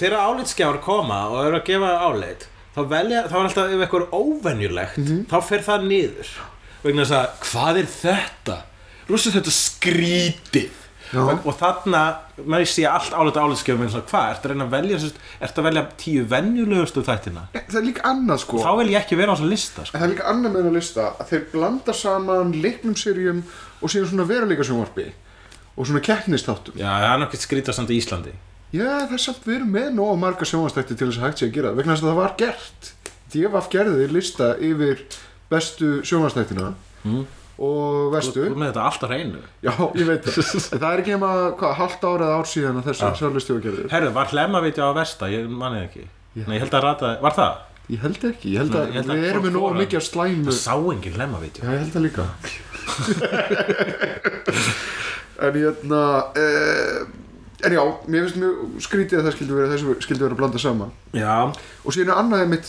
[SPEAKER 1] Þegar álitskjáður koma og eru að gefa álit þá, velja, þá er alltaf ef eitthvað er óvenjulegt þá fer það niður vegna þess að hvað er þetta? Rússið þetta skrítið
[SPEAKER 2] Já.
[SPEAKER 1] og, og þarna maður sé allt álita álitskjáðum eins og hvað, ertu að reyna að velja sérst, ertu að velja tíu venjulegustu þættina
[SPEAKER 2] Það er líka annað sko
[SPEAKER 1] þá vil ég ekki vera á þessa lista sko.
[SPEAKER 2] Það er líka annað með hennar lista að þeir blanda saman leiknum sirjum og síðan svona veruleika og svona keppnistáttum
[SPEAKER 1] Já, það er nokkið skrítið samt í Íslandi
[SPEAKER 2] Já, það er samt við erum með nóg marga sjónvastætti til þess að hægt sé að gera það, vegna þess að það var gert Divaf gerði lista yfir bestu sjónvastættina og
[SPEAKER 1] Hmm? Þú
[SPEAKER 2] vestu
[SPEAKER 1] er með þetta allt á hreinu
[SPEAKER 2] Já, ég veit það. En það er ekki nema, hvað, halvt ára eða ár síðan að
[SPEAKER 1] Ah.
[SPEAKER 2] þessu sjálfustjóðu gerður.
[SPEAKER 1] Herðu, var hlemmavídeó á versta? Ég manið ekki Nei, ég held að rata, var það?
[SPEAKER 2] Ég held ekki, ég held að,
[SPEAKER 1] Nei, ég held að
[SPEAKER 2] við erum
[SPEAKER 1] fólk
[SPEAKER 2] með nógu
[SPEAKER 1] voru-
[SPEAKER 2] mikið af slæmu.
[SPEAKER 1] Það sá enginn hlemmavídeó
[SPEAKER 2] Já, ég held að líka. (laughs) en hérna, uh, en já, mér finnst mjög skrítið að það skildi vera, þessu skildi vera að blanda saman.
[SPEAKER 1] Já,
[SPEAKER 2] Og síðan er annaðið mitt,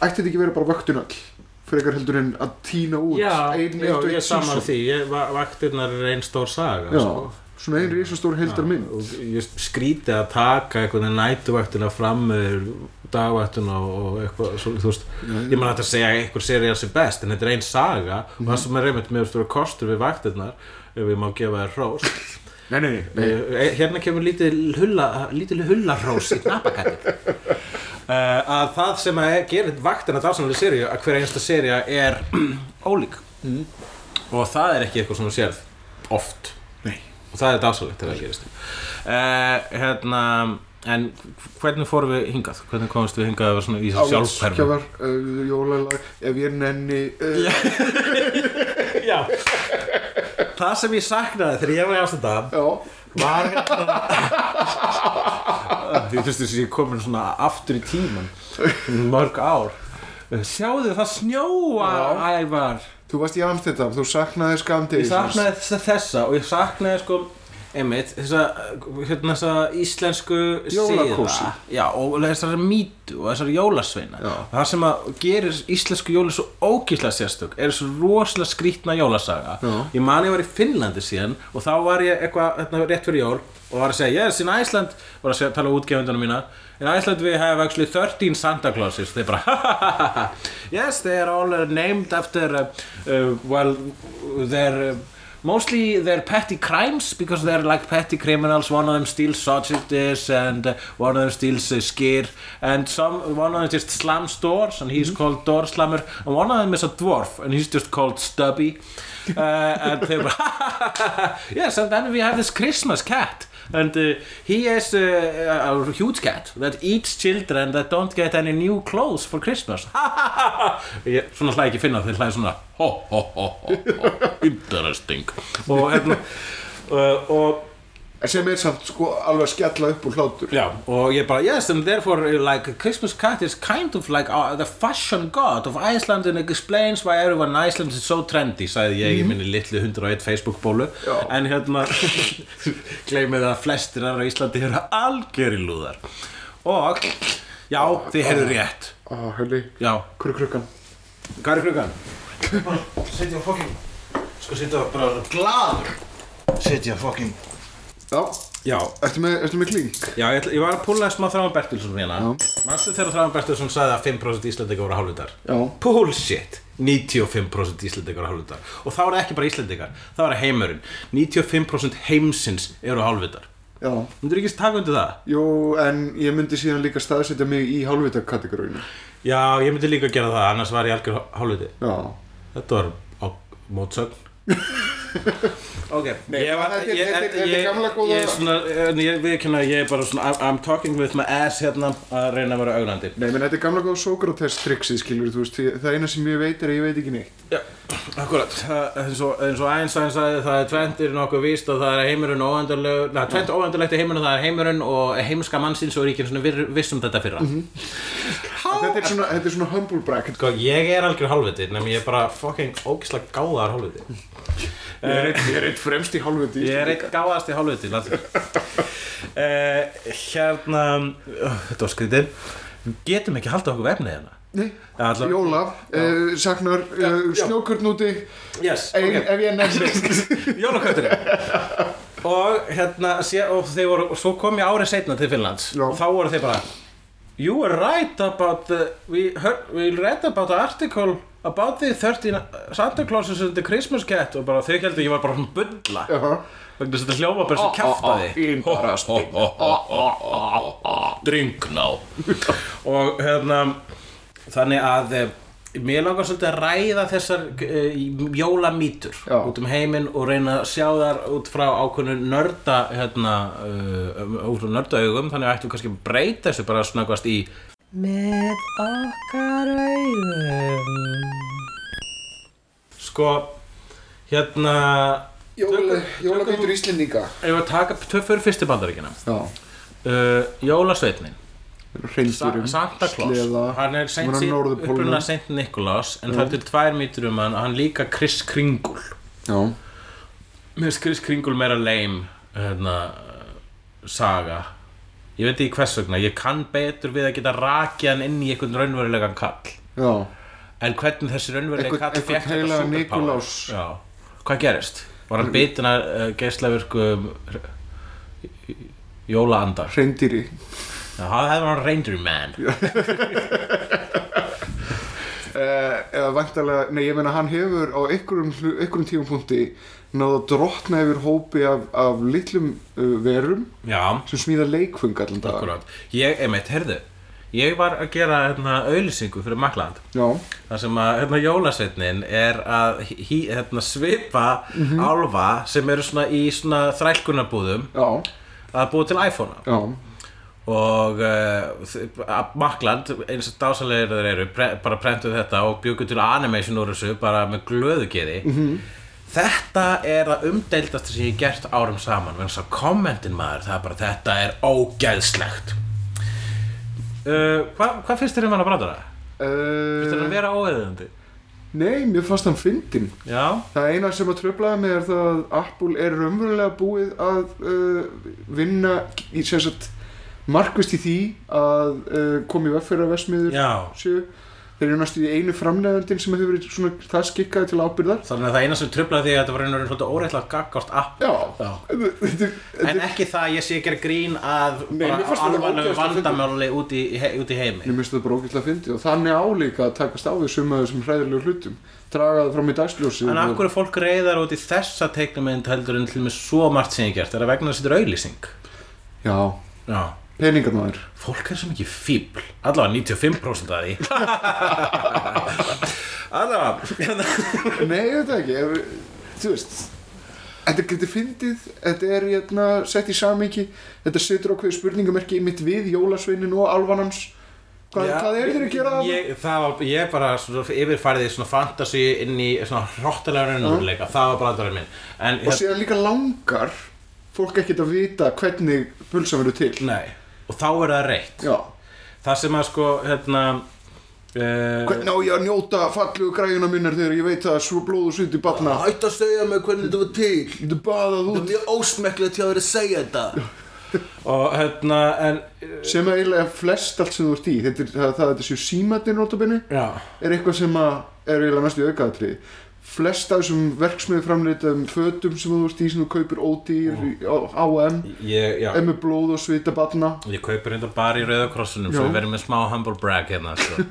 [SPEAKER 2] ætti þetta ekki vera bara vöktunall, frekar heldur en að tína út
[SPEAKER 1] já,
[SPEAKER 2] einn,
[SPEAKER 1] já
[SPEAKER 2] eitt og
[SPEAKER 1] ég er
[SPEAKER 2] eitt
[SPEAKER 1] saman
[SPEAKER 2] sísón.
[SPEAKER 1] því ég, va- Vaktirnar er einn stór saga
[SPEAKER 2] Já,
[SPEAKER 1] sko.
[SPEAKER 2] svona einn risastór heldar mynd.
[SPEAKER 1] og ég skríti að taka einhvern veginn nætuvaktina fram með dagvaktina og eitthvað svo, þú veist, ég man hægt að segja að einhver seríal sem best en þetta
[SPEAKER 2] Mhm.
[SPEAKER 1] er einn saga og það sem er einmitt mjög stóra kostur við vaktirnar ef ég má gefa þér hrós
[SPEAKER 2] Nei, nei, nei
[SPEAKER 1] Eh, hérna kemur lítil hulla, lítil hullarós í
[SPEAKER 2] (laughs)
[SPEAKER 1] knappakætti uh, að það sem að gerir vaktina dásanlega seríu að hver einasta sería er (clears throat) ólík og það er ekki eitthvað sem þú sérð oft
[SPEAKER 2] Nei.
[SPEAKER 1] og það er dásalegt þegar það gerist uh, hérna en hvernig fórum við hingað hvernig komumst við hingað að vera svona í þessu sjálfperfum
[SPEAKER 2] Áskjafar, uh, jólalag, ef ég nenni uh,
[SPEAKER 1] Já. það sem ég saknaði þegar ég var í ástanda
[SPEAKER 2] Já,
[SPEAKER 1] var hérna Því þurfti þess að ég komin svona aftur í tíman Mörg ár Sjáðu það snjóa Ævar
[SPEAKER 2] þú varst í Amstendam, þú saknaði skamdegi
[SPEAKER 1] Ég saknaði þessa, þessa og ég saknaði sko einmitt, þessa, hérna, þessa íslensku
[SPEAKER 2] Jólakósí.
[SPEAKER 1] siða. Já, og þessar mýtu og þessar jólasveina
[SPEAKER 2] Já.
[SPEAKER 1] og það sem að gerir íslensku jóli svo ókísla sérstök er þessu rosalega skrítna jólasaga
[SPEAKER 2] Já.
[SPEAKER 1] ég man ég var í Finnlandi síðan og þá var ég eitthvað hérna, rétt fyrir jól og var að segja, yes, in Iceland var að segja, tala um útgefendunum mína in Iceland we have actually 13 Santa Clauses þeir bara, (laughs) ha ha ha ha ha yes, they are all uh, named after uh, uh, well, they're uh, Mostly they're petty crimes because they're like petty criminals. One of them steals sausages and uh, one of them steals uh, skyr and some one of them just slams doors and he's called door slammer and one of them is a dwarf and he's just called stubby. Uh, and they were (laughs) yes and then we have this Christmas cat and uh, he is uh, a, a huge cat that eats children that don't get any new clothes for Christmas. Ég- svona hlæði ekki finna þeir hlæði svona ho ho ho ho, ho interesting og hérna uh, og
[SPEAKER 2] Sem er samt sko alveg að skella upp úr hlátur
[SPEAKER 1] Já, og ég bara, yes, and therefore uh, like Christmas cat is kind of like uh, the fashion god of Iceland and explains why everyone in Iceland is so trendy sagði ég í minni litlu 101 Facebook bólu
[SPEAKER 2] Já.
[SPEAKER 1] en hérna (laughs) gleymið að flestir aðra í Íslandi eru algjöri lúðar og, já, þið heyrðu rétt
[SPEAKER 2] Á, helli,
[SPEAKER 1] já,
[SPEAKER 2] hverju krukkan?
[SPEAKER 1] hvað er klukkan? Sitja á fokkin sko sitja bara glaður Sitja á fokkin
[SPEAKER 2] Já,
[SPEAKER 1] Já,
[SPEAKER 2] ertu með, ertu með klink?
[SPEAKER 1] Já, ég, ætla- ég var að púla smá Þráðan Bertilsson hérna
[SPEAKER 2] Já.
[SPEAKER 1] Manstu þegar Þráðan Bertilsson sagði að 5% Íslendingar voru hálfvitar?
[SPEAKER 2] Já.
[SPEAKER 1] Bullshit! 95% Íslendingar voru hálfvitar Og þá er ekki bara Íslendingar, þá er heimurinn 95% heimsins eru hálfvitar
[SPEAKER 2] Já
[SPEAKER 1] Myndur ekki taka undir það?
[SPEAKER 2] Jú, en ég myndi síðan líka staðsetja mig í hálfvita kategóriðinu
[SPEAKER 1] Já, ég myndi líka gera það, annars var ég algjör hálfviti
[SPEAKER 2] Já
[SPEAKER 1] Þetta var á mótsögn (laughs) Ok,
[SPEAKER 2] Nei,
[SPEAKER 1] ég var,
[SPEAKER 2] þetta er-
[SPEAKER 1] ég,
[SPEAKER 2] þetta er- þetta er
[SPEAKER 1] ég-
[SPEAKER 2] gamla góða-
[SPEAKER 1] Ég er svona, en ég viðkynna, ég er bara svona I'm- I'm talking with my ass hérna að reyna að vera auglandi
[SPEAKER 2] Nei, menn þetta er gamla góð Sókrates triksi, skilur þú veist því Það eina sem ég veit er að ég veit ekki neitt
[SPEAKER 1] Já, akkurat, Það- eins og, eins og Einstein sagði það er tventir nokkuð víst og það er heimurinn óendurleg, na, tvent óendurlegt er heimurinn og það er heimurinn og heimska mannsins og ríkinn svona vir- viss um þetta fyrra.
[SPEAKER 2] Þetta er svona, þetta er svona humble bracket
[SPEAKER 1] Sko, ég er algjör hálfviti, nefnum ég er bara fucking ógislega gáðar hálfviti.
[SPEAKER 2] Ég er eitt, ég er eitt fremst í hálfviti
[SPEAKER 1] Ég er eitt gáðast í hálfviti, látum uh, Hérna, uh, þetta var skrítið, Við getum ekki haldið okkur vefnið hérna.
[SPEAKER 2] Nei,
[SPEAKER 1] Já, allavega-
[SPEAKER 2] Jóla, uh, saknar uh,
[SPEAKER 1] já.
[SPEAKER 2] snjókurnuti
[SPEAKER 1] Yes,
[SPEAKER 2] ein, Ef ég
[SPEAKER 1] (laughs)
[SPEAKER 2] nefnir
[SPEAKER 1] Jólakötturinn og hérna sé, og þeir voru, og svo kom ég árið setna til Finnlands
[SPEAKER 2] Já.
[SPEAKER 1] og þá voru þeir bara You were right about the we, heard, we read about the article about the 13 Santa Clauses and the Christmas cat og bara þau heldur ég var bara svona bulla
[SPEAKER 2] Jaha.
[SPEAKER 1] vegna þess að þetta hljóma bara sem kjaftaði Drink now (laughs) og hérna þannig að eh, mér langar svolítið að ræða þessar uh, jólamítur
[SPEAKER 2] Já.
[SPEAKER 1] út um heiminn og reyna að sjá þar út frá ákveðnu nörda hérna, uh, út frá nörda augum þannig að ættum við kannski að breyta þessu bara svona eitthvað í með okkar augum sko hérna
[SPEAKER 2] Jóla,
[SPEAKER 1] tökum-
[SPEAKER 2] Jólabítur
[SPEAKER 1] tökum-
[SPEAKER 2] Íslendinga
[SPEAKER 1] Ef við að taka töffur fyrstu bandaríkina
[SPEAKER 2] Já,
[SPEAKER 1] uh, Jólasveitnin Sa
[SPEAKER 2] reyndurum
[SPEAKER 1] Santa Claus
[SPEAKER 2] sleða,
[SPEAKER 1] hann er seint,
[SPEAKER 2] hann er á Norðurpólnum.
[SPEAKER 1] uppruna Saint Nicholas en það er til tvær mítur um hann og hann líka Chris Kringle
[SPEAKER 2] Já,
[SPEAKER 1] mér finnst Chris Kringle meira lame hérna, saga ég veit ekki hvers vegna ég kann betur við að geta rakið hann inn í einhvern raunverulegan kall
[SPEAKER 2] já
[SPEAKER 1] en hvernig þessi raunverulega
[SPEAKER 2] Einhvern-
[SPEAKER 1] kall
[SPEAKER 2] einhvern
[SPEAKER 1] fékk þetta
[SPEAKER 2] heilagan
[SPEAKER 1] superpower?
[SPEAKER 2] Nikulás.
[SPEAKER 1] Já. hvað gerist? var hann bitin að uh, geislaverkum jólaandar
[SPEAKER 2] Reyndýri
[SPEAKER 1] Já, það hefði hann reindeer man
[SPEAKER 2] Eh, eða væntalega, nei ég meina hann hefur á einhverjum, hlu- einhverjum tímapunkti náðu að drotna yfir hópi af, af litlum uh, verum
[SPEAKER 1] Já,
[SPEAKER 2] sem smíða leikfung allan dag
[SPEAKER 1] akkurát Ég, einmitt, heyrðu Ég var að gera hérna, auðlýsingu fyrir Makland
[SPEAKER 2] Já,
[SPEAKER 1] þar sem að hérna, jólasveitnin er að hí, hérna, svipa álfa sem eru svona í svona þrælkunarbúðum
[SPEAKER 2] já,
[SPEAKER 1] að búa til iPhone-a
[SPEAKER 2] já,
[SPEAKER 1] og uh, Makland, eins og dásalegir þeir eru pre bara prentuð þetta og bjúku til animation úr þessu bara með glöðugeði þetta er að umdeildast sem ég hef gert árum saman vegna þess að kommentin maður, það er bara þetta er ógeðslegt uh, hvað, hvað finnst þér um hann að brandara? finnst þér hann
[SPEAKER 2] uh,
[SPEAKER 1] vera óeðandi?
[SPEAKER 2] Nei, mér fannst hann fyndin
[SPEAKER 1] já,
[SPEAKER 2] Það eina sem að tröflaði mig er það að Apple er raunverulega búið að uh, vinna í sem sagt markvist í því að uh, komi veffera vesmiður
[SPEAKER 1] já
[SPEAKER 2] séu Þeir eru næstu í einu framlegandinn sem hefur verið svona það skikkaði til ábyrðar
[SPEAKER 1] þannig að það eina sem tröflaði því að þetta var einhverjum svolítið óreittlega gaggort app
[SPEAKER 2] Já,
[SPEAKER 1] já
[SPEAKER 2] Þetta-
[SPEAKER 1] En ekki það að ég sé að gera grín að
[SPEAKER 2] Nei, mér fannst þetta
[SPEAKER 1] alvarlegu
[SPEAKER 2] ógeðslega fyndið.
[SPEAKER 1] vandamáli út í, he, út í heimi
[SPEAKER 2] Ég myndst þetta bara ógætla að fyndi og þannig álíka að takast á við suma af þessum hræðilegu hlutum draga það fram í dagsljósið
[SPEAKER 1] En af
[SPEAKER 2] og-
[SPEAKER 1] hverju er fólk reyðar út í þessa teiknumynd heldur en til með svo margt sem ég hef gert? Er það vegna þess að þetta er auðlýsing?
[SPEAKER 2] Já,
[SPEAKER 1] Já.
[SPEAKER 2] peningarnar
[SPEAKER 1] Fólk er svo mikið fíbl. Allavega 95% af því. (laughs) Allavega. hérna-
[SPEAKER 2] Nei, ég veit það ekki, ef, þú veist Þetta getur fyndið, þetta er hérna, sett í samingi Þetta setur okkur spurningamerki mitt við jólasveinin og alvanans Hvað, hvað er þér að gera það?
[SPEAKER 1] Ég, það var, ég bara svona yfirfærið í svona fantasy inn í svona hróttalega raunurleika. Það var bara aðdraðurinn minn. En, hérna-
[SPEAKER 2] Og síðan líka langar fólk ekkert að vita hvernig pulsa verður til
[SPEAKER 1] nei. Og þá er það reitt.
[SPEAKER 2] Já,
[SPEAKER 1] Það sem að sko, hérna... Uh,
[SPEAKER 2] hvernig á ég að njóta fallegu græjuna minnar þegar ég veit að svo blóð og sviti batna
[SPEAKER 1] Hætt að segja mig hvernig þetta var til.
[SPEAKER 2] Þú baðað út
[SPEAKER 1] mjög ósmekklegt hjá þér að segja þetta og hérna en
[SPEAKER 2] sem að eiginlega flest allt sem þú ert í þetta er það, það þetta séu símatni nótabinni
[SPEAKER 1] já,
[SPEAKER 2] er eitthvað sem að er eiginlega mest í aukaðatri flest af þessum verksmiðu framleitaðum fötum sem þú ert í sem þú kaupir ódýr oh. H&M
[SPEAKER 1] ég, já.
[SPEAKER 2] er með blóð og svita batna
[SPEAKER 1] ég kaupir hérna bara í Rauðakrossunum svo
[SPEAKER 2] Já.
[SPEAKER 1] við verðum með smá humble brag hérna sko.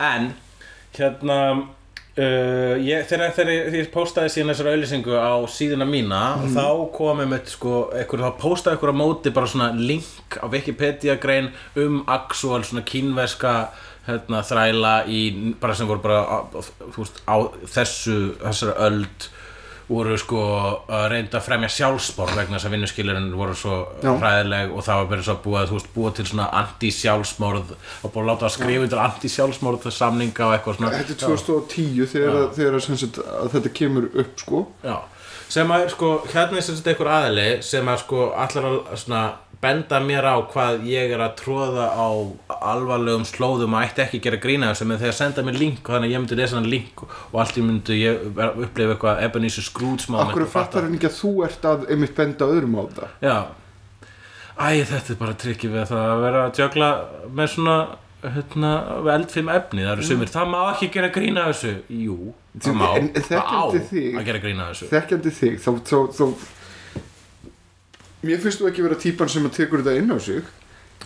[SPEAKER 1] en hérna uh, ég, þegar, þegar ég, ég postaði síðan þessar auðlýsingu á síðuna mína þá komið með sko, ekkur, þá postaði ykkur á móti bara svona link á Wikipedia grein um actual svona kínverska hérna, þræla í, bara sem voru bara á, á, þú veist, á þessu þessari öld voru sko að reynda að fremja sjálfsbór vegna þess að vinnuskilurinn voru svo
[SPEAKER 2] Já.
[SPEAKER 1] hræðileg og það var verið svo að búa, þú veist, búa til svona anti-sjálfsmorð og búið að láta að skrifa undir anti-sjálfsmorð samninga og eitthvað svona
[SPEAKER 2] þetta er 2010 þegar, að, þegar að, sem sagt, að þetta kemur upp sko
[SPEAKER 1] Já, sem að sko, hérna er sem þetta einhver aðili sem að sko allar að svona benda mér á hvað ég er að tróða á alvarlegum slóðum að ætti ekki að gera grína þessu með þegar senda mér link og þannig að ég myndi lesa hann link og allt í myndu ég ver- upplifa eitthvað Ebenezer Scrooge moment
[SPEAKER 2] Akkur
[SPEAKER 1] og fatta-
[SPEAKER 2] fattar hann ekki að þú ert að einmitt benda öðrum á þetta
[SPEAKER 1] Já Æ, þetta er bara trikki við það að vera að tjögla með svona hérna, eldfim efni, það eru sumir það má ekki gera grína þessu Jú, það
[SPEAKER 2] Þú-
[SPEAKER 1] má,
[SPEAKER 2] en- en
[SPEAKER 1] það á
[SPEAKER 2] þekkjandi þig-
[SPEAKER 1] að gera grína þessu
[SPEAKER 2] þekkjandi þig þá, þá, þá mér finnst þú ekki vera típan sem að tekur þetta inn á sig ég,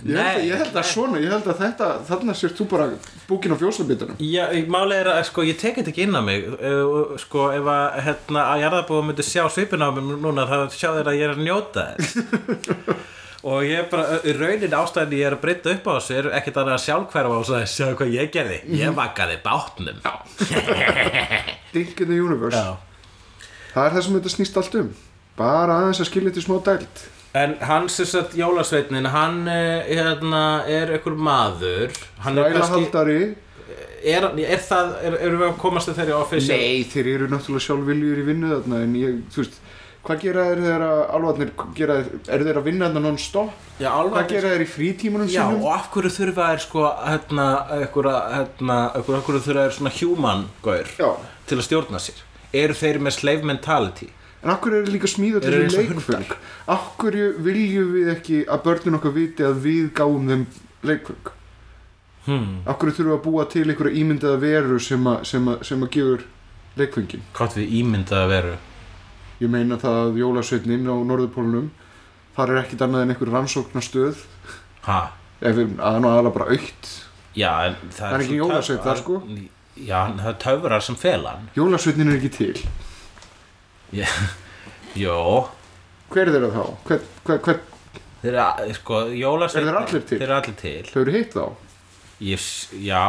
[SPEAKER 2] held,
[SPEAKER 1] Nei,
[SPEAKER 2] að, ég held að
[SPEAKER 1] nei.
[SPEAKER 2] svona, ég held að þetta þarna sér þú bara búkin á fjósabitunum
[SPEAKER 1] Já, málið er að sko, ég tek þetta ekki inn á mig eh, og, sko, ef að, hérna, að jarðabúa myndi sjá svipin á mig núna þá sjá þeir að ég er að njóta þess og ég er bara, í raunin ástæðin ég er að breyta upp á þessu er ekkert annað að sjálfhverfa og sagði, sjá hvað ég gerði ég vakaði bátnum Já, (laughs)
[SPEAKER 2] Dink in the universe það er það sem þetta snýst allt um bara aðeins að skilja þetta í smá dælt
[SPEAKER 1] En hann sem sagt jólasveitnin, hann eh, hérna, er einhver maður hann er, kannski,
[SPEAKER 2] þrælahaldari
[SPEAKER 1] er, er það, er, erum við að komast að þeirri official?
[SPEAKER 2] nei, þeir eru náttúrulega sjálf viljur í vinnu þarna en ég, þú veist Hvað gera þeir þegar að alvarnir gera þeir, eru þeir að vinna þarna non-stop?
[SPEAKER 1] Já, alveg
[SPEAKER 2] Hvað gera þeir í frítímanum
[SPEAKER 1] Já,
[SPEAKER 2] sínum?
[SPEAKER 1] og af hverju þurfa þeir sko, hérna, einhverja, hérna, einhverja, af hverju þurfa þeir svona human gaur
[SPEAKER 2] Já,
[SPEAKER 1] til að stjórna sér? Eru þeir með slave mentality?
[SPEAKER 2] En akkur eru líka smíða til
[SPEAKER 1] Eru
[SPEAKER 2] því
[SPEAKER 1] eins og
[SPEAKER 2] leikföng? Akkur viljum við ekki að börnin okkar viti að við gáum þeim leikföng?
[SPEAKER 1] Hmm,
[SPEAKER 2] Akkur þurfum við að búa til einhverja ímyndaða veru sem að, sem að, sem að gefur leikföngin?
[SPEAKER 1] hvað við ímyndað að veru?
[SPEAKER 2] Ég meina það að jólasveitnin á Norðurpólunum, þar er ekkit annað en einhver rannsóknastöð,
[SPEAKER 1] Ha?
[SPEAKER 2] ef við, að hann og aðla bara aukt
[SPEAKER 1] já, en það
[SPEAKER 2] Það er
[SPEAKER 1] svo
[SPEAKER 2] ekki jólasveinn
[SPEAKER 1] töfrar-
[SPEAKER 2] þar, sko.
[SPEAKER 1] já, en það er töfrar sem fela hann
[SPEAKER 2] Jólasveitnin er ekki til
[SPEAKER 1] Jó,
[SPEAKER 2] Hver er þeirra þá? Hver, hver, hver,
[SPEAKER 1] þeir eru, sko, jólasveinn
[SPEAKER 2] Eru þeir allir til?
[SPEAKER 1] Þeir eru allir til
[SPEAKER 2] þau eru hitt þá?
[SPEAKER 1] Ég, s- já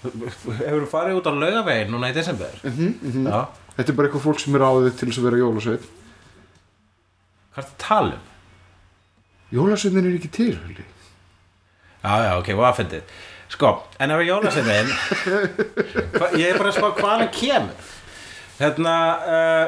[SPEAKER 1] Hefur þú farið út á laugavegin núna í desember? Mm -hmm, Já,
[SPEAKER 2] Þetta er bara eitthvað fólk sem er áður til þess að vera jólasveit
[SPEAKER 1] hvað er það að tala um?
[SPEAKER 2] Jólasveitnin er ekki til, höllu
[SPEAKER 1] Já, já, ok, hvað fyndið Sko, en ef að jólasveitin Ég er bara að spá hvað hann kemur Hérna uh,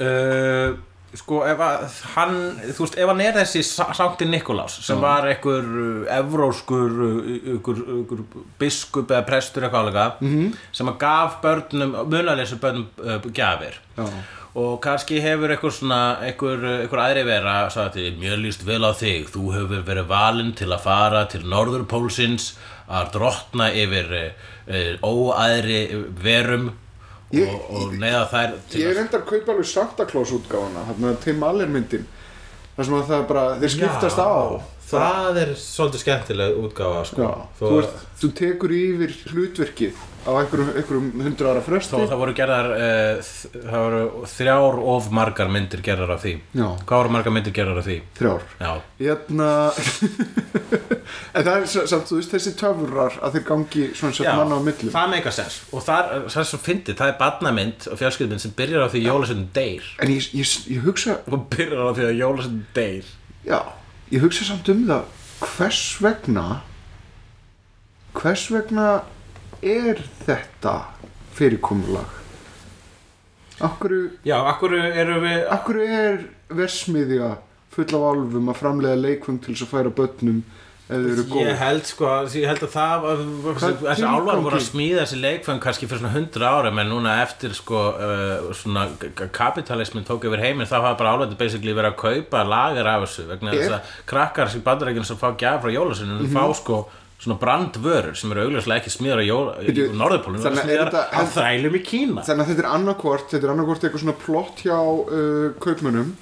[SPEAKER 1] uh, Sko, ef að hann, þú veist, ef hann er þessi Sa- Sankti Nikolás sem var einhver uh, evróskur uh, einhver, einhver biskup eða prestur eitthvað álega
[SPEAKER 2] Mhm.
[SPEAKER 1] -hmm. sem að gaf börnum, munalessu börnum uh, gjafir
[SPEAKER 2] Já.
[SPEAKER 1] og kannski hefur einhver svona einhver, eh, einhver aðri vera sagði, mjög líst vel á þig, þú hefur verið valinn til að fara til norðurpólsins að drottna yfir e, e, óæðri verum
[SPEAKER 2] Ég-
[SPEAKER 1] og, og neyða þær til
[SPEAKER 2] Ég
[SPEAKER 1] að-
[SPEAKER 2] er enda að kaupa alveg Santa Claus útgáfana Þannig að Tim Allen myndin Það sem að það er bara, þeir skiptast
[SPEAKER 1] Já,
[SPEAKER 2] á
[SPEAKER 1] það er svolítið skemmtileg útgáfa sko.
[SPEAKER 2] Já,
[SPEAKER 1] þó,
[SPEAKER 2] þú, ert, þú tekur yfir hlutverkið á einhverjum, einhverjum hundra ára
[SPEAKER 1] þó
[SPEAKER 2] fresti
[SPEAKER 1] það voru gerðar uh, það voru þrjár of margar myndir gerðar af því
[SPEAKER 2] Já.
[SPEAKER 1] hvað voru margar myndir gerðar af því
[SPEAKER 2] Þrjár
[SPEAKER 1] já,
[SPEAKER 2] Hérna (laughs) En það er sa- samt, þú veist, þessi töfrar að þeir gangi svona sett manna á millum
[SPEAKER 1] það meika sens og það er það er svo fyndið, það er barnamynd og fjárskildmynd sem byrjar á því jólasöndum deyr
[SPEAKER 2] En ég, ég, ég hugsa,
[SPEAKER 1] og byrjar á því að jólasöndum deyr
[SPEAKER 2] já Ég hugsa samt um það Hvers vegna Hvers vegna er þetta fyrirkomulag? Akkur,
[SPEAKER 1] já, akkur eru við
[SPEAKER 2] akkur er versmiðja full af álfum að framlega leikfung til þess að færa börnum ef þau eru góð
[SPEAKER 1] ég held sko, ég held að það að- þessi
[SPEAKER 2] tilgangi?
[SPEAKER 1] álvar voru að smíða þessi leikfeng kannski fyrir svona 100 árum en núna eftir sko, uh, svona g- g- kapitalismin tók yfir heiminn þá hafa bara álvarði basically verið að kaupa lagar af þessu vegna
[SPEAKER 2] Er-
[SPEAKER 1] þess að krakkar sem bandarækjum sem fá gjafar frá jólasinu
[SPEAKER 2] Mhm.
[SPEAKER 1] fá sko svona brandvörur sem eru augljóslega ekki smíðar á jóla,
[SPEAKER 2] Bíddu,
[SPEAKER 1] í Norðurpólunum
[SPEAKER 2] þannig
[SPEAKER 1] það
[SPEAKER 2] að
[SPEAKER 1] eru
[SPEAKER 2] er
[SPEAKER 1] smíðar
[SPEAKER 2] þetta-
[SPEAKER 1] af þrælum í Kína
[SPEAKER 2] Þannig að þetta er annarkvort, þetta er annarkvort eitthvað svona plott hjá uh, kaupmönnum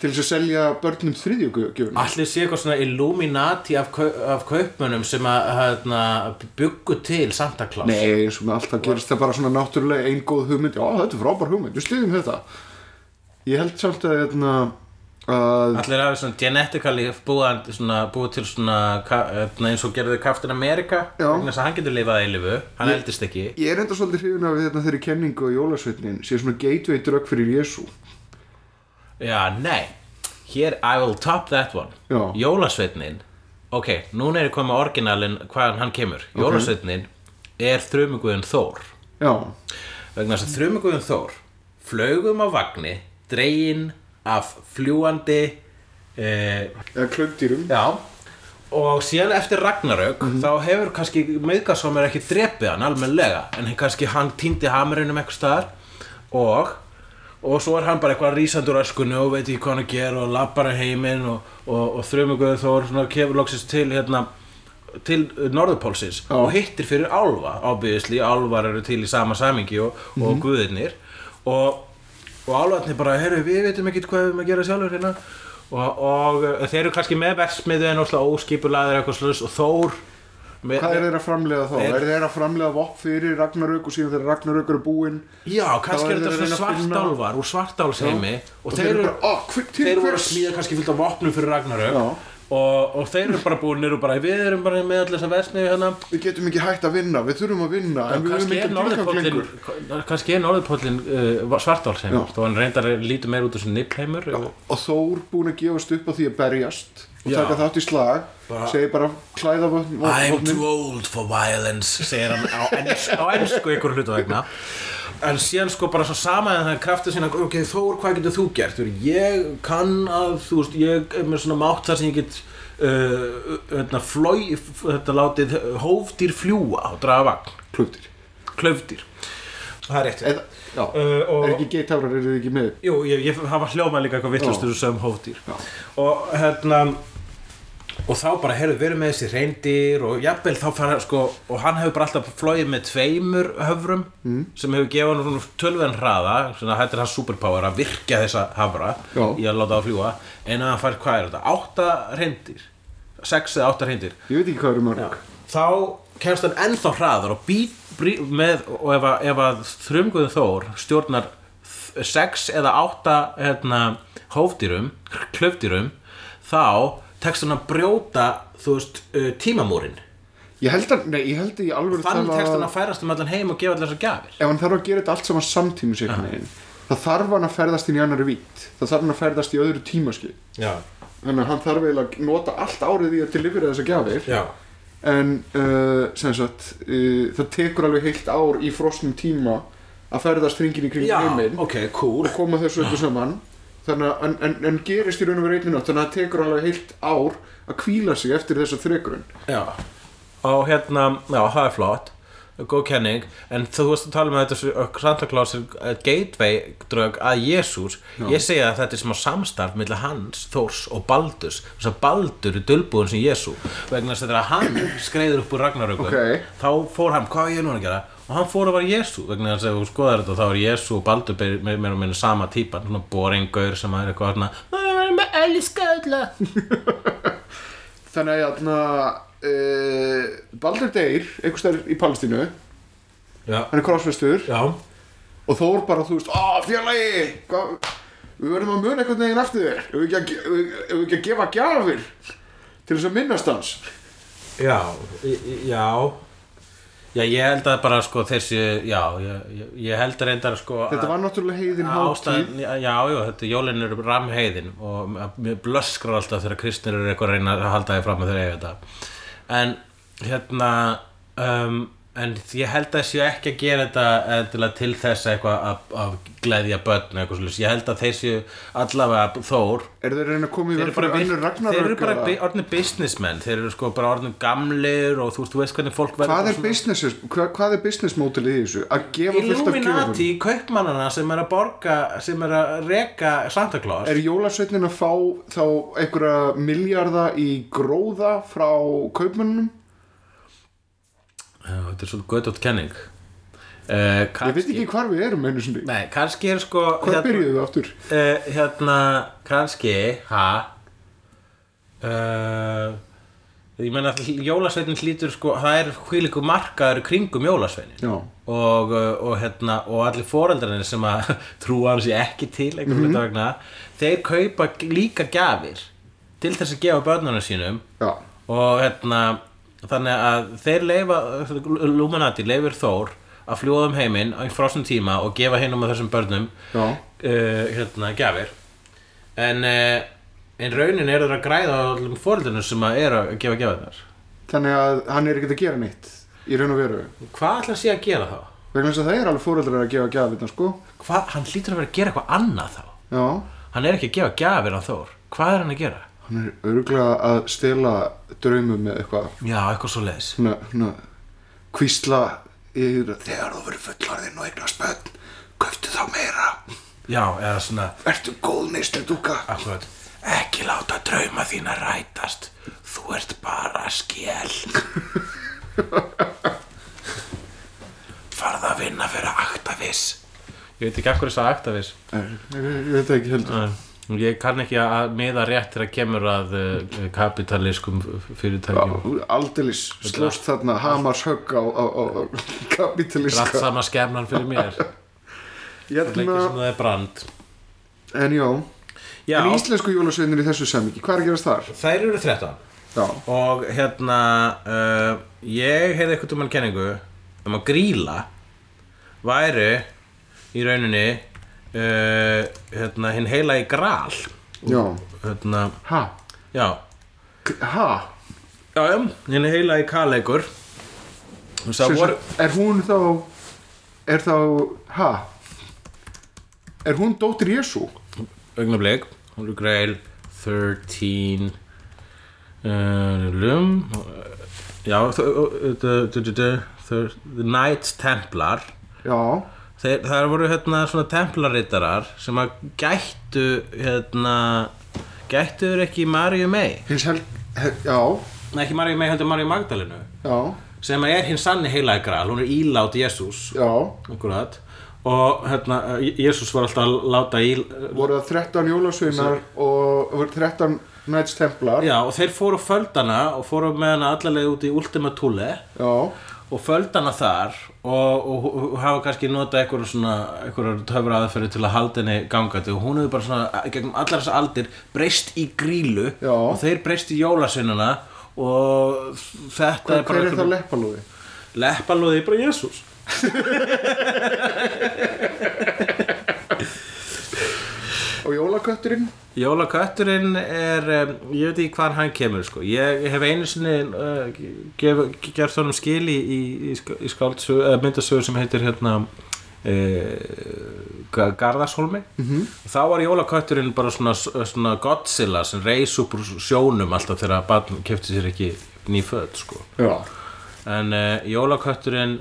[SPEAKER 2] til þess að selja börnum þriðjögjöfuna.
[SPEAKER 1] Allir sé eitthvað svona Illuminati af, kau af kaupmönnum sem að hérna, byggu til Santa Claus
[SPEAKER 2] Nei, eins og með alltaf gerist það bara svona náttúrulega einn góð hugmynd. Já, þetta er frábær hugmynd, við styðjum þetta. Ég held samt að, hérna, að
[SPEAKER 1] Allir hafi svona genetically búið, svona, búið til svona ka- hérna, eins og gerði Captain America
[SPEAKER 2] Já.
[SPEAKER 1] vegna þess að hann getur lifað að eilifu, hann eldist ekki
[SPEAKER 2] ég er enda svolítið hrifin af hérna, þeirri kenningu á jólasveitnin sé svona gateway drug fyrir Jésu.
[SPEAKER 1] Já, nei, hér I will top that one
[SPEAKER 2] Já.
[SPEAKER 1] Jólasveitnin, ok, núna er ég komið með orginalinn hvaðan hann kemur Jólasveitnin er þrumuguðin Þór
[SPEAKER 2] Já,
[SPEAKER 1] vegna þess að þrjumuguðum Þór flögum á vagni dregin af fljúandi eh,
[SPEAKER 2] eða klöndýrum.
[SPEAKER 1] já og síðan eftir Ragnarök þá hefur kannski meðgasómur ekki drepið hann almenlega en hann kannski hann týndi hamurinum eitthvað staðar og og svo er hann bara eitthvað rísandur öskunni og veit ekki hvað hann að gera og lappar á heiminn og, og, og þrjumuguðum Þór svona kefur loksins til hérna til norðupólsins og hittir fyrir álfa ábyggisli, álfar eru til í sama samingi og, og guðirnir og, og álfarnir bara, heyrðu, við veitum ekkert hvað við erum að gera sjálfur hérna og, og uh, þeir eru kannski með versmiðu en óslega óskipulaðir eitthvað slúðis og Þór með,
[SPEAKER 2] Hvað er þeirra framlega þá?
[SPEAKER 1] Þeir-
[SPEAKER 2] Er þeirra framlega vopp fyrir Ragnarök og síðan þegar Ragnarök eru búinn?
[SPEAKER 1] Já, kannski
[SPEAKER 2] Þá
[SPEAKER 1] er
[SPEAKER 2] eru
[SPEAKER 1] þetta
[SPEAKER 2] þeir að
[SPEAKER 1] svona
[SPEAKER 2] reyna að finna-
[SPEAKER 1] svartálfar úr svartálsheimi og,
[SPEAKER 2] Og
[SPEAKER 1] þeir eru
[SPEAKER 2] bara, "Ah, hver- til
[SPEAKER 1] þeir voru að
[SPEAKER 2] hvers?"
[SPEAKER 1] smíða kannski fullt af vopnum fyrir Ragnarök
[SPEAKER 2] Já.
[SPEAKER 1] og, og þeir eru bara búinir og bara við erum bara með allir þessa versmiðu hérna
[SPEAKER 2] við getum ekki hægt að vinna, við þurfum að vinna en við höfum
[SPEAKER 1] kannski er
[SPEAKER 2] ekki tilgang
[SPEAKER 1] norðurpóllin
[SPEAKER 2] lengur
[SPEAKER 1] kannski er norðurpóllin uh, svartálsheimur
[SPEAKER 2] Já.
[SPEAKER 1] þó hann reyndar lítur meir út úr svona nippheimur
[SPEAKER 2] og Þór búin að gefast upp á því að berjast og
[SPEAKER 1] Já.
[SPEAKER 2] taka þátt í slag
[SPEAKER 1] Bara-
[SPEAKER 2] segi bara klæða vopnin
[SPEAKER 1] old for violence segir hann á ensku, á ensku ykkur hlutu vegna en síðan sko bara svo sama en það er kraftið sína ok Þór hvað getur þú gert Þú veist, ég kann að þú veist ég er með svona mátt þar sem ég get uh, hérna, flói, þetta látið hófdýr fljúa og draga vagn
[SPEAKER 2] klöftir
[SPEAKER 1] klöfdýr það er rétt
[SPEAKER 2] eða, já,
[SPEAKER 1] Uh, og-
[SPEAKER 2] er ekki geittárar eru þið ekki með
[SPEAKER 1] Jú, ég, ég hafa hljómað líka eitthvað vittlust
[SPEAKER 2] Já.
[SPEAKER 1] þessu sögum um hófdýr
[SPEAKER 2] Já.
[SPEAKER 1] og hérna og þá bara hefur verið með þessi reyndir og jafnvel þá fara sko og hann hefur bara alltaf flóið með tveimur höfrum mm. sem hefur gefað hann svona tölven hraða svona þetta er hans superpower að virkja þessa hafra
[SPEAKER 2] Já.
[SPEAKER 1] í að láta það fljúa en að hann fær hvað er þetta? Átta reyndir sex eða átta hreindir
[SPEAKER 2] Ég veit ekki hvað eru mörg
[SPEAKER 1] þá kemst hann ennþá hraðar og být brí, með, og ef að, ef að þrumguðu þór stjórnar 6 eða 8 hérna, hófdýrum, klöfdýrum þá tekst hann að brjóta þú veist, uh, tímamúrin
[SPEAKER 2] Ég held að, nei, ég held að ég alveg
[SPEAKER 1] þannig tekst hann að færast um allan heim og gefa allar þessar gjafir
[SPEAKER 2] ef hann þarf að gera þetta allt saman samtímis einhvern veginn það þarf hann að ferðast inn í annari vít það þarf hann að ferðast í öðru tímaskil
[SPEAKER 1] já,
[SPEAKER 2] þannig að hann þarf eiginlega að nota allt árið í að delivera þessa gjafir
[SPEAKER 1] já,
[SPEAKER 2] en uh, sem sagt uh, það tekur alveg heilt ár í frosnum tíma að ferðast hringin í kring heiminn
[SPEAKER 1] ok, cool
[SPEAKER 2] og koma þessu öllu saman þannig að, en, en, en gerist í raun og veru einnig nátt þannig að það tekur alveg heilt ár að kvíla sig eftir þessa þregrun
[SPEAKER 1] já. og hérna, já, það er flott góð kenning, en þú veist að tala með þetta sem- að Santa Claus er eh, gateway drög að Jésús ég segja að þetta er smá samstarf millir hans, Þórs og Baldurs þess að Baldur er dölbúin sem Jésú vegna þess að þegar hann skreiður upp úr Ragnarökum
[SPEAKER 2] Ok.
[SPEAKER 1] þá fór hann, hvað á ég núna að gera og hann fór að vera Jésu vegna þess að ef þú skoðar þetta þá er Jésu og Baldur meir- meir meir og minna sama típan svona boringaur sem að er eitthvað svona "Æ, ég er með elska öll
[SPEAKER 2] þannig að jæna, uh, Baldur Deyr einhvers þær í Palestínu hann
[SPEAKER 1] já,
[SPEAKER 2] er krossvestur
[SPEAKER 1] já,
[SPEAKER 2] og Þór bara, þú veist, á fjarlægi við verðum að muna einhvern veginn eftir þér ef við ekki að, ge- ef við- ef við ekki að gefa gjafir til þess að minnast hans
[SPEAKER 1] já já já, ég held að bara sko þessi já, ég, ég- ég held að reyndar sko að-
[SPEAKER 2] þetta var náttúrulega heiðin
[SPEAKER 1] að
[SPEAKER 2] hátíð
[SPEAKER 1] ástæðan, já, já, já, þetta jólin eru ramheiðin og mér blöskrar alltaf þegar kristnir eru eitthvað að reyna að halda því fram að þeir eiga þetta en hérna um, en ég held að séu ekki að gera þetta endilega til þess eitthvað að, að gleðja börn eitthvað svolítið, ég held að þeir séu allavega þór
[SPEAKER 2] er þeir að reyna að koma í
[SPEAKER 1] Þeir
[SPEAKER 2] verð
[SPEAKER 1] eru bara,
[SPEAKER 2] fyrir
[SPEAKER 1] vir-
[SPEAKER 2] önnur
[SPEAKER 1] þeir eru
[SPEAKER 2] ragnarök
[SPEAKER 1] bara
[SPEAKER 2] eða-
[SPEAKER 1] bi- orðnir businessmen Þeir eru sko bara orðnir gamlir Og þú veist, þú veist hvernig fólk verður
[SPEAKER 2] hvað
[SPEAKER 1] bara
[SPEAKER 2] er businesses, hvað, hvað er business mótilið í þessu að gefa fullt af
[SPEAKER 1] Illuminati
[SPEAKER 2] gjöfum
[SPEAKER 1] í kaupmannana sem er að borga Sem er að reka Santa Claus
[SPEAKER 2] er jólasveitnin að fá þá einhverja miljarda í gróða frá kaupmönnum
[SPEAKER 1] Já, þetta er svolítið gött átt kenning uh,
[SPEAKER 2] ég veit ekki hvar við erum einu sinni
[SPEAKER 1] Nei, kannski er sko
[SPEAKER 2] hvað byrjuðu við aftur
[SPEAKER 1] uh, Hérna, kannski Ha uh, Ég meina að jólasveitin hlýtur sko Það er hvílíku markaður í kringum jólasveinin
[SPEAKER 2] já
[SPEAKER 1] og, uh, og, hérna, og allir foreldrarnir sem að (laughs) trúa hans ég ekki til einhvern veginn vegna þeir kaupa líka gjafir til þess að gefa börnunum sínum
[SPEAKER 2] Já.
[SPEAKER 1] og hérna þannig að þeir leifa Luminati leifir Þór að fljóða um heiminn á frosnum tíma og gefa hinum að þessum börnum
[SPEAKER 2] Já.
[SPEAKER 1] uh, hérna, gjafir en, uh, en raunin eru þeir að græða á allum foreldrarnir sem að eru að gefa gjafirnar
[SPEAKER 2] þannig að hann er ekkert að gera neitt í raun og veru
[SPEAKER 1] hvað ætla að sé að gera þá?
[SPEAKER 2] vegna þess að það er alveg fóreldrar að gefa gjafirna sko
[SPEAKER 1] Hvað, hann hlýtur að vera að gera eitthvað annað þá
[SPEAKER 2] já,
[SPEAKER 1] Hann er ekki að gefa gjafir á Þór Hvað er hann að gera?
[SPEAKER 2] hann er örgulega að stela draumum með eitthvað
[SPEAKER 1] Já, eitthvað svo leiðis
[SPEAKER 2] svona, svona kvísla yfir að þegar þú verður fullorðinn og eignast bönn köftu þá meira,
[SPEAKER 1] Já, eða svona
[SPEAKER 2] ertu góð neyslu dúka
[SPEAKER 1] akkurat, Ekki láta drauma þína rætast Þú ert bara (laughs) skjel Farð að vinna fyrir Aktavis Ég veit ekki akkur þess að Aktavis
[SPEAKER 2] Nei, ég veit það ekki heldur
[SPEAKER 1] Ég kann ekki að miða rétt þegar kemur að uh, kapitalískum fyrirtækjum
[SPEAKER 2] aldeilis slóst þarna hamars högg á, á, á á
[SPEAKER 1] Rætt
[SPEAKER 2] kapitalíska
[SPEAKER 1] sama skemnan fyrir mér Lengi sem
[SPEAKER 2] hérna,
[SPEAKER 1] það er brand
[SPEAKER 2] en já en íslensku jólasveinir í þessu samingi, hvað er að gerast þar?
[SPEAKER 1] Þær eru 13
[SPEAKER 2] já,
[SPEAKER 1] og hérna uh, ég heyrði eitthvað um hann kenningu um að gríla væri í rauninni uh, hérna hinn heila í gral
[SPEAKER 2] já,
[SPEAKER 1] hérna,
[SPEAKER 2] ha
[SPEAKER 1] já
[SPEAKER 2] K- ha,
[SPEAKER 1] já, já, hinn heila í kaleikur
[SPEAKER 2] Sem
[SPEAKER 1] það
[SPEAKER 2] sagt,
[SPEAKER 1] voru
[SPEAKER 2] er hún þá er þá, ha er hún dóttir Jésu
[SPEAKER 1] augnablik hún er greil 13 uh, lum uh, já þau- uh, du- du- du- du- þau- the Knights Templar
[SPEAKER 2] já,
[SPEAKER 1] Þeir, það voru hérna svona templarittarar sem að gættu hérna gættu þeir ekki Marju May
[SPEAKER 2] hins hel he, já,
[SPEAKER 1] Nei ekki Marju May heldur Marju Magdalenu
[SPEAKER 2] já,
[SPEAKER 1] sem að er hinn sanni heilagra, hún er ílát Jésús
[SPEAKER 2] já
[SPEAKER 1] akkurat og hérna, Jésús var alltaf að láta í
[SPEAKER 2] voru það 13 jólasveinar og voru 13 Knights Templar
[SPEAKER 1] Já, og þeir fóru á földana og fóru með hana allavega út í Ultima Thule
[SPEAKER 2] já,
[SPEAKER 1] og földana þar og, og, og hafa kannski notað einhverjum svona einhverjum töfra aðferði til að halda henni gangandi og hún hefur bara svona eh, gegnum allar þessar aldir breyst í grílu
[SPEAKER 2] Já.
[SPEAKER 1] og þeir breyst í jólasinuna og þetta
[SPEAKER 2] hver,
[SPEAKER 1] er bara
[SPEAKER 2] hver er það leppalúði?
[SPEAKER 1] leppalóði bara Jésús
[SPEAKER 2] og jólakötturinn?
[SPEAKER 1] Jólakötturinn er, um, ég veit ekki hvaðan hann kemur sko. ég hef einu sinni uh, gef, gert honum skil í, í, í, sk- í skáldsögu, eða myndasögu sem heitir hérna uh, Garðarshólmi -hmm. þá var jólakötturinn bara svona, svona Godzilla sem reis upp úr sjónum alltaf þegar barn kefti sér ekki ný föt sko.
[SPEAKER 2] já,
[SPEAKER 1] en uh, jólakötturinn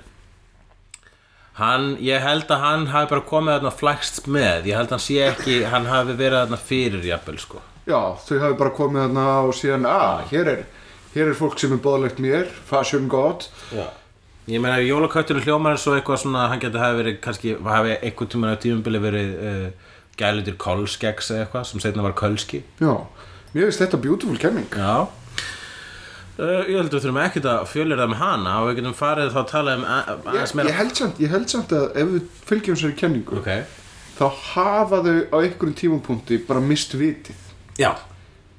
[SPEAKER 1] hann, ég held að hann hafi bara komið þarna flækst með, ég held að hann sé ekki hann hafi verið þarna fyrir jafnvel sko
[SPEAKER 2] já þau hafi bara komið þarna og síðan að, hér er hér er fólk sem er boðlegt mér fashion god
[SPEAKER 1] Já. Ég meina, jólakötturinn hljómar er svo eitthvað svona að hann getur hafi verið, kannski, hafi einhvern tímann á tímumbili verið uh, gælutir kolskeks eða eitthvað, sem setna var kölski.
[SPEAKER 2] já, mér finnst þetta beautiful kenning
[SPEAKER 1] Já. Uh, ég heldur við þurfum ekkert að fjölir það með hana og við getum farið þá að tala um a- aðeins
[SPEAKER 2] ég,
[SPEAKER 1] meira.
[SPEAKER 2] ég, held samt, ég held samt að ef við fylgjum sér í kenningu
[SPEAKER 1] Ok.
[SPEAKER 2] þá hafa þau á einhverjum tímapunkti bara mist vitið
[SPEAKER 1] Já.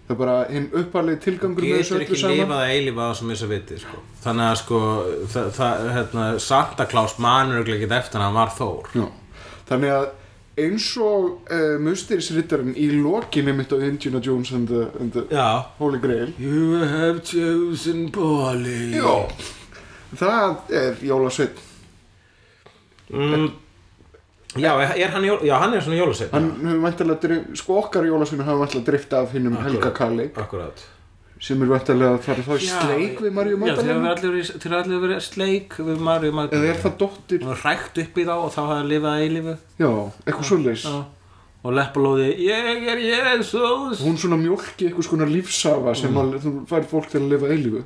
[SPEAKER 2] það er bara hinn upparlegi tilgangur með þessu
[SPEAKER 1] Getur
[SPEAKER 2] öllu
[SPEAKER 1] ekki
[SPEAKER 2] saman
[SPEAKER 1] lifað að eilífa á sem þessu viti, sko. Þannig að, sko, það, það hérna, Santa Claus manur ekki eftir að hann var Þór.
[SPEAKER 2] Já. þannig að eins og uh, musterisrittarinn í lokinni mitt á Indiana Jones and the, and the
[SPEAKER 1] Já.
[SPEAKER 2] Holy Grail
[SPEAKER 1] You have chosen Polly.
[SPEAKER 2] það er jólasveit
[SPEAKER 1] Mm. Já, er hann, jól- já, hann er svona jólasveinn
[SPEAKER 2] hann hefur væntalega, drif- sko okkar jólasveinu hafa væntalega drift af hinnum Helga Kalli
[SPEAKER 1] Akkurát
[SPEAKER 2] sem er væntalega að fara þá í sleik við Marju
[SPEAKER 1] Já, þeir hafa
[SPEAKER 2] Magdalena
[SPEAKER 1] allir verið- þeir hafa allir verið sleik við Marju
[SPEAKER 2] eða
[SPEAKER 1] Magdalena
[SPEAKER 2] er það dóttir,
[SPEAKER 1] Hún var hrækt upp í þá og þá hafði hann lifað að eilífu
[SPEAKER 2] já, eitthvað svoleiðis
[SPEAKER 1] Já. Og leppalóði, ég er Jésús
[SPEAKER 2] hún svona mjólki eitthvað skona lífsafa sem að þú fær fólk til að lifa eilífu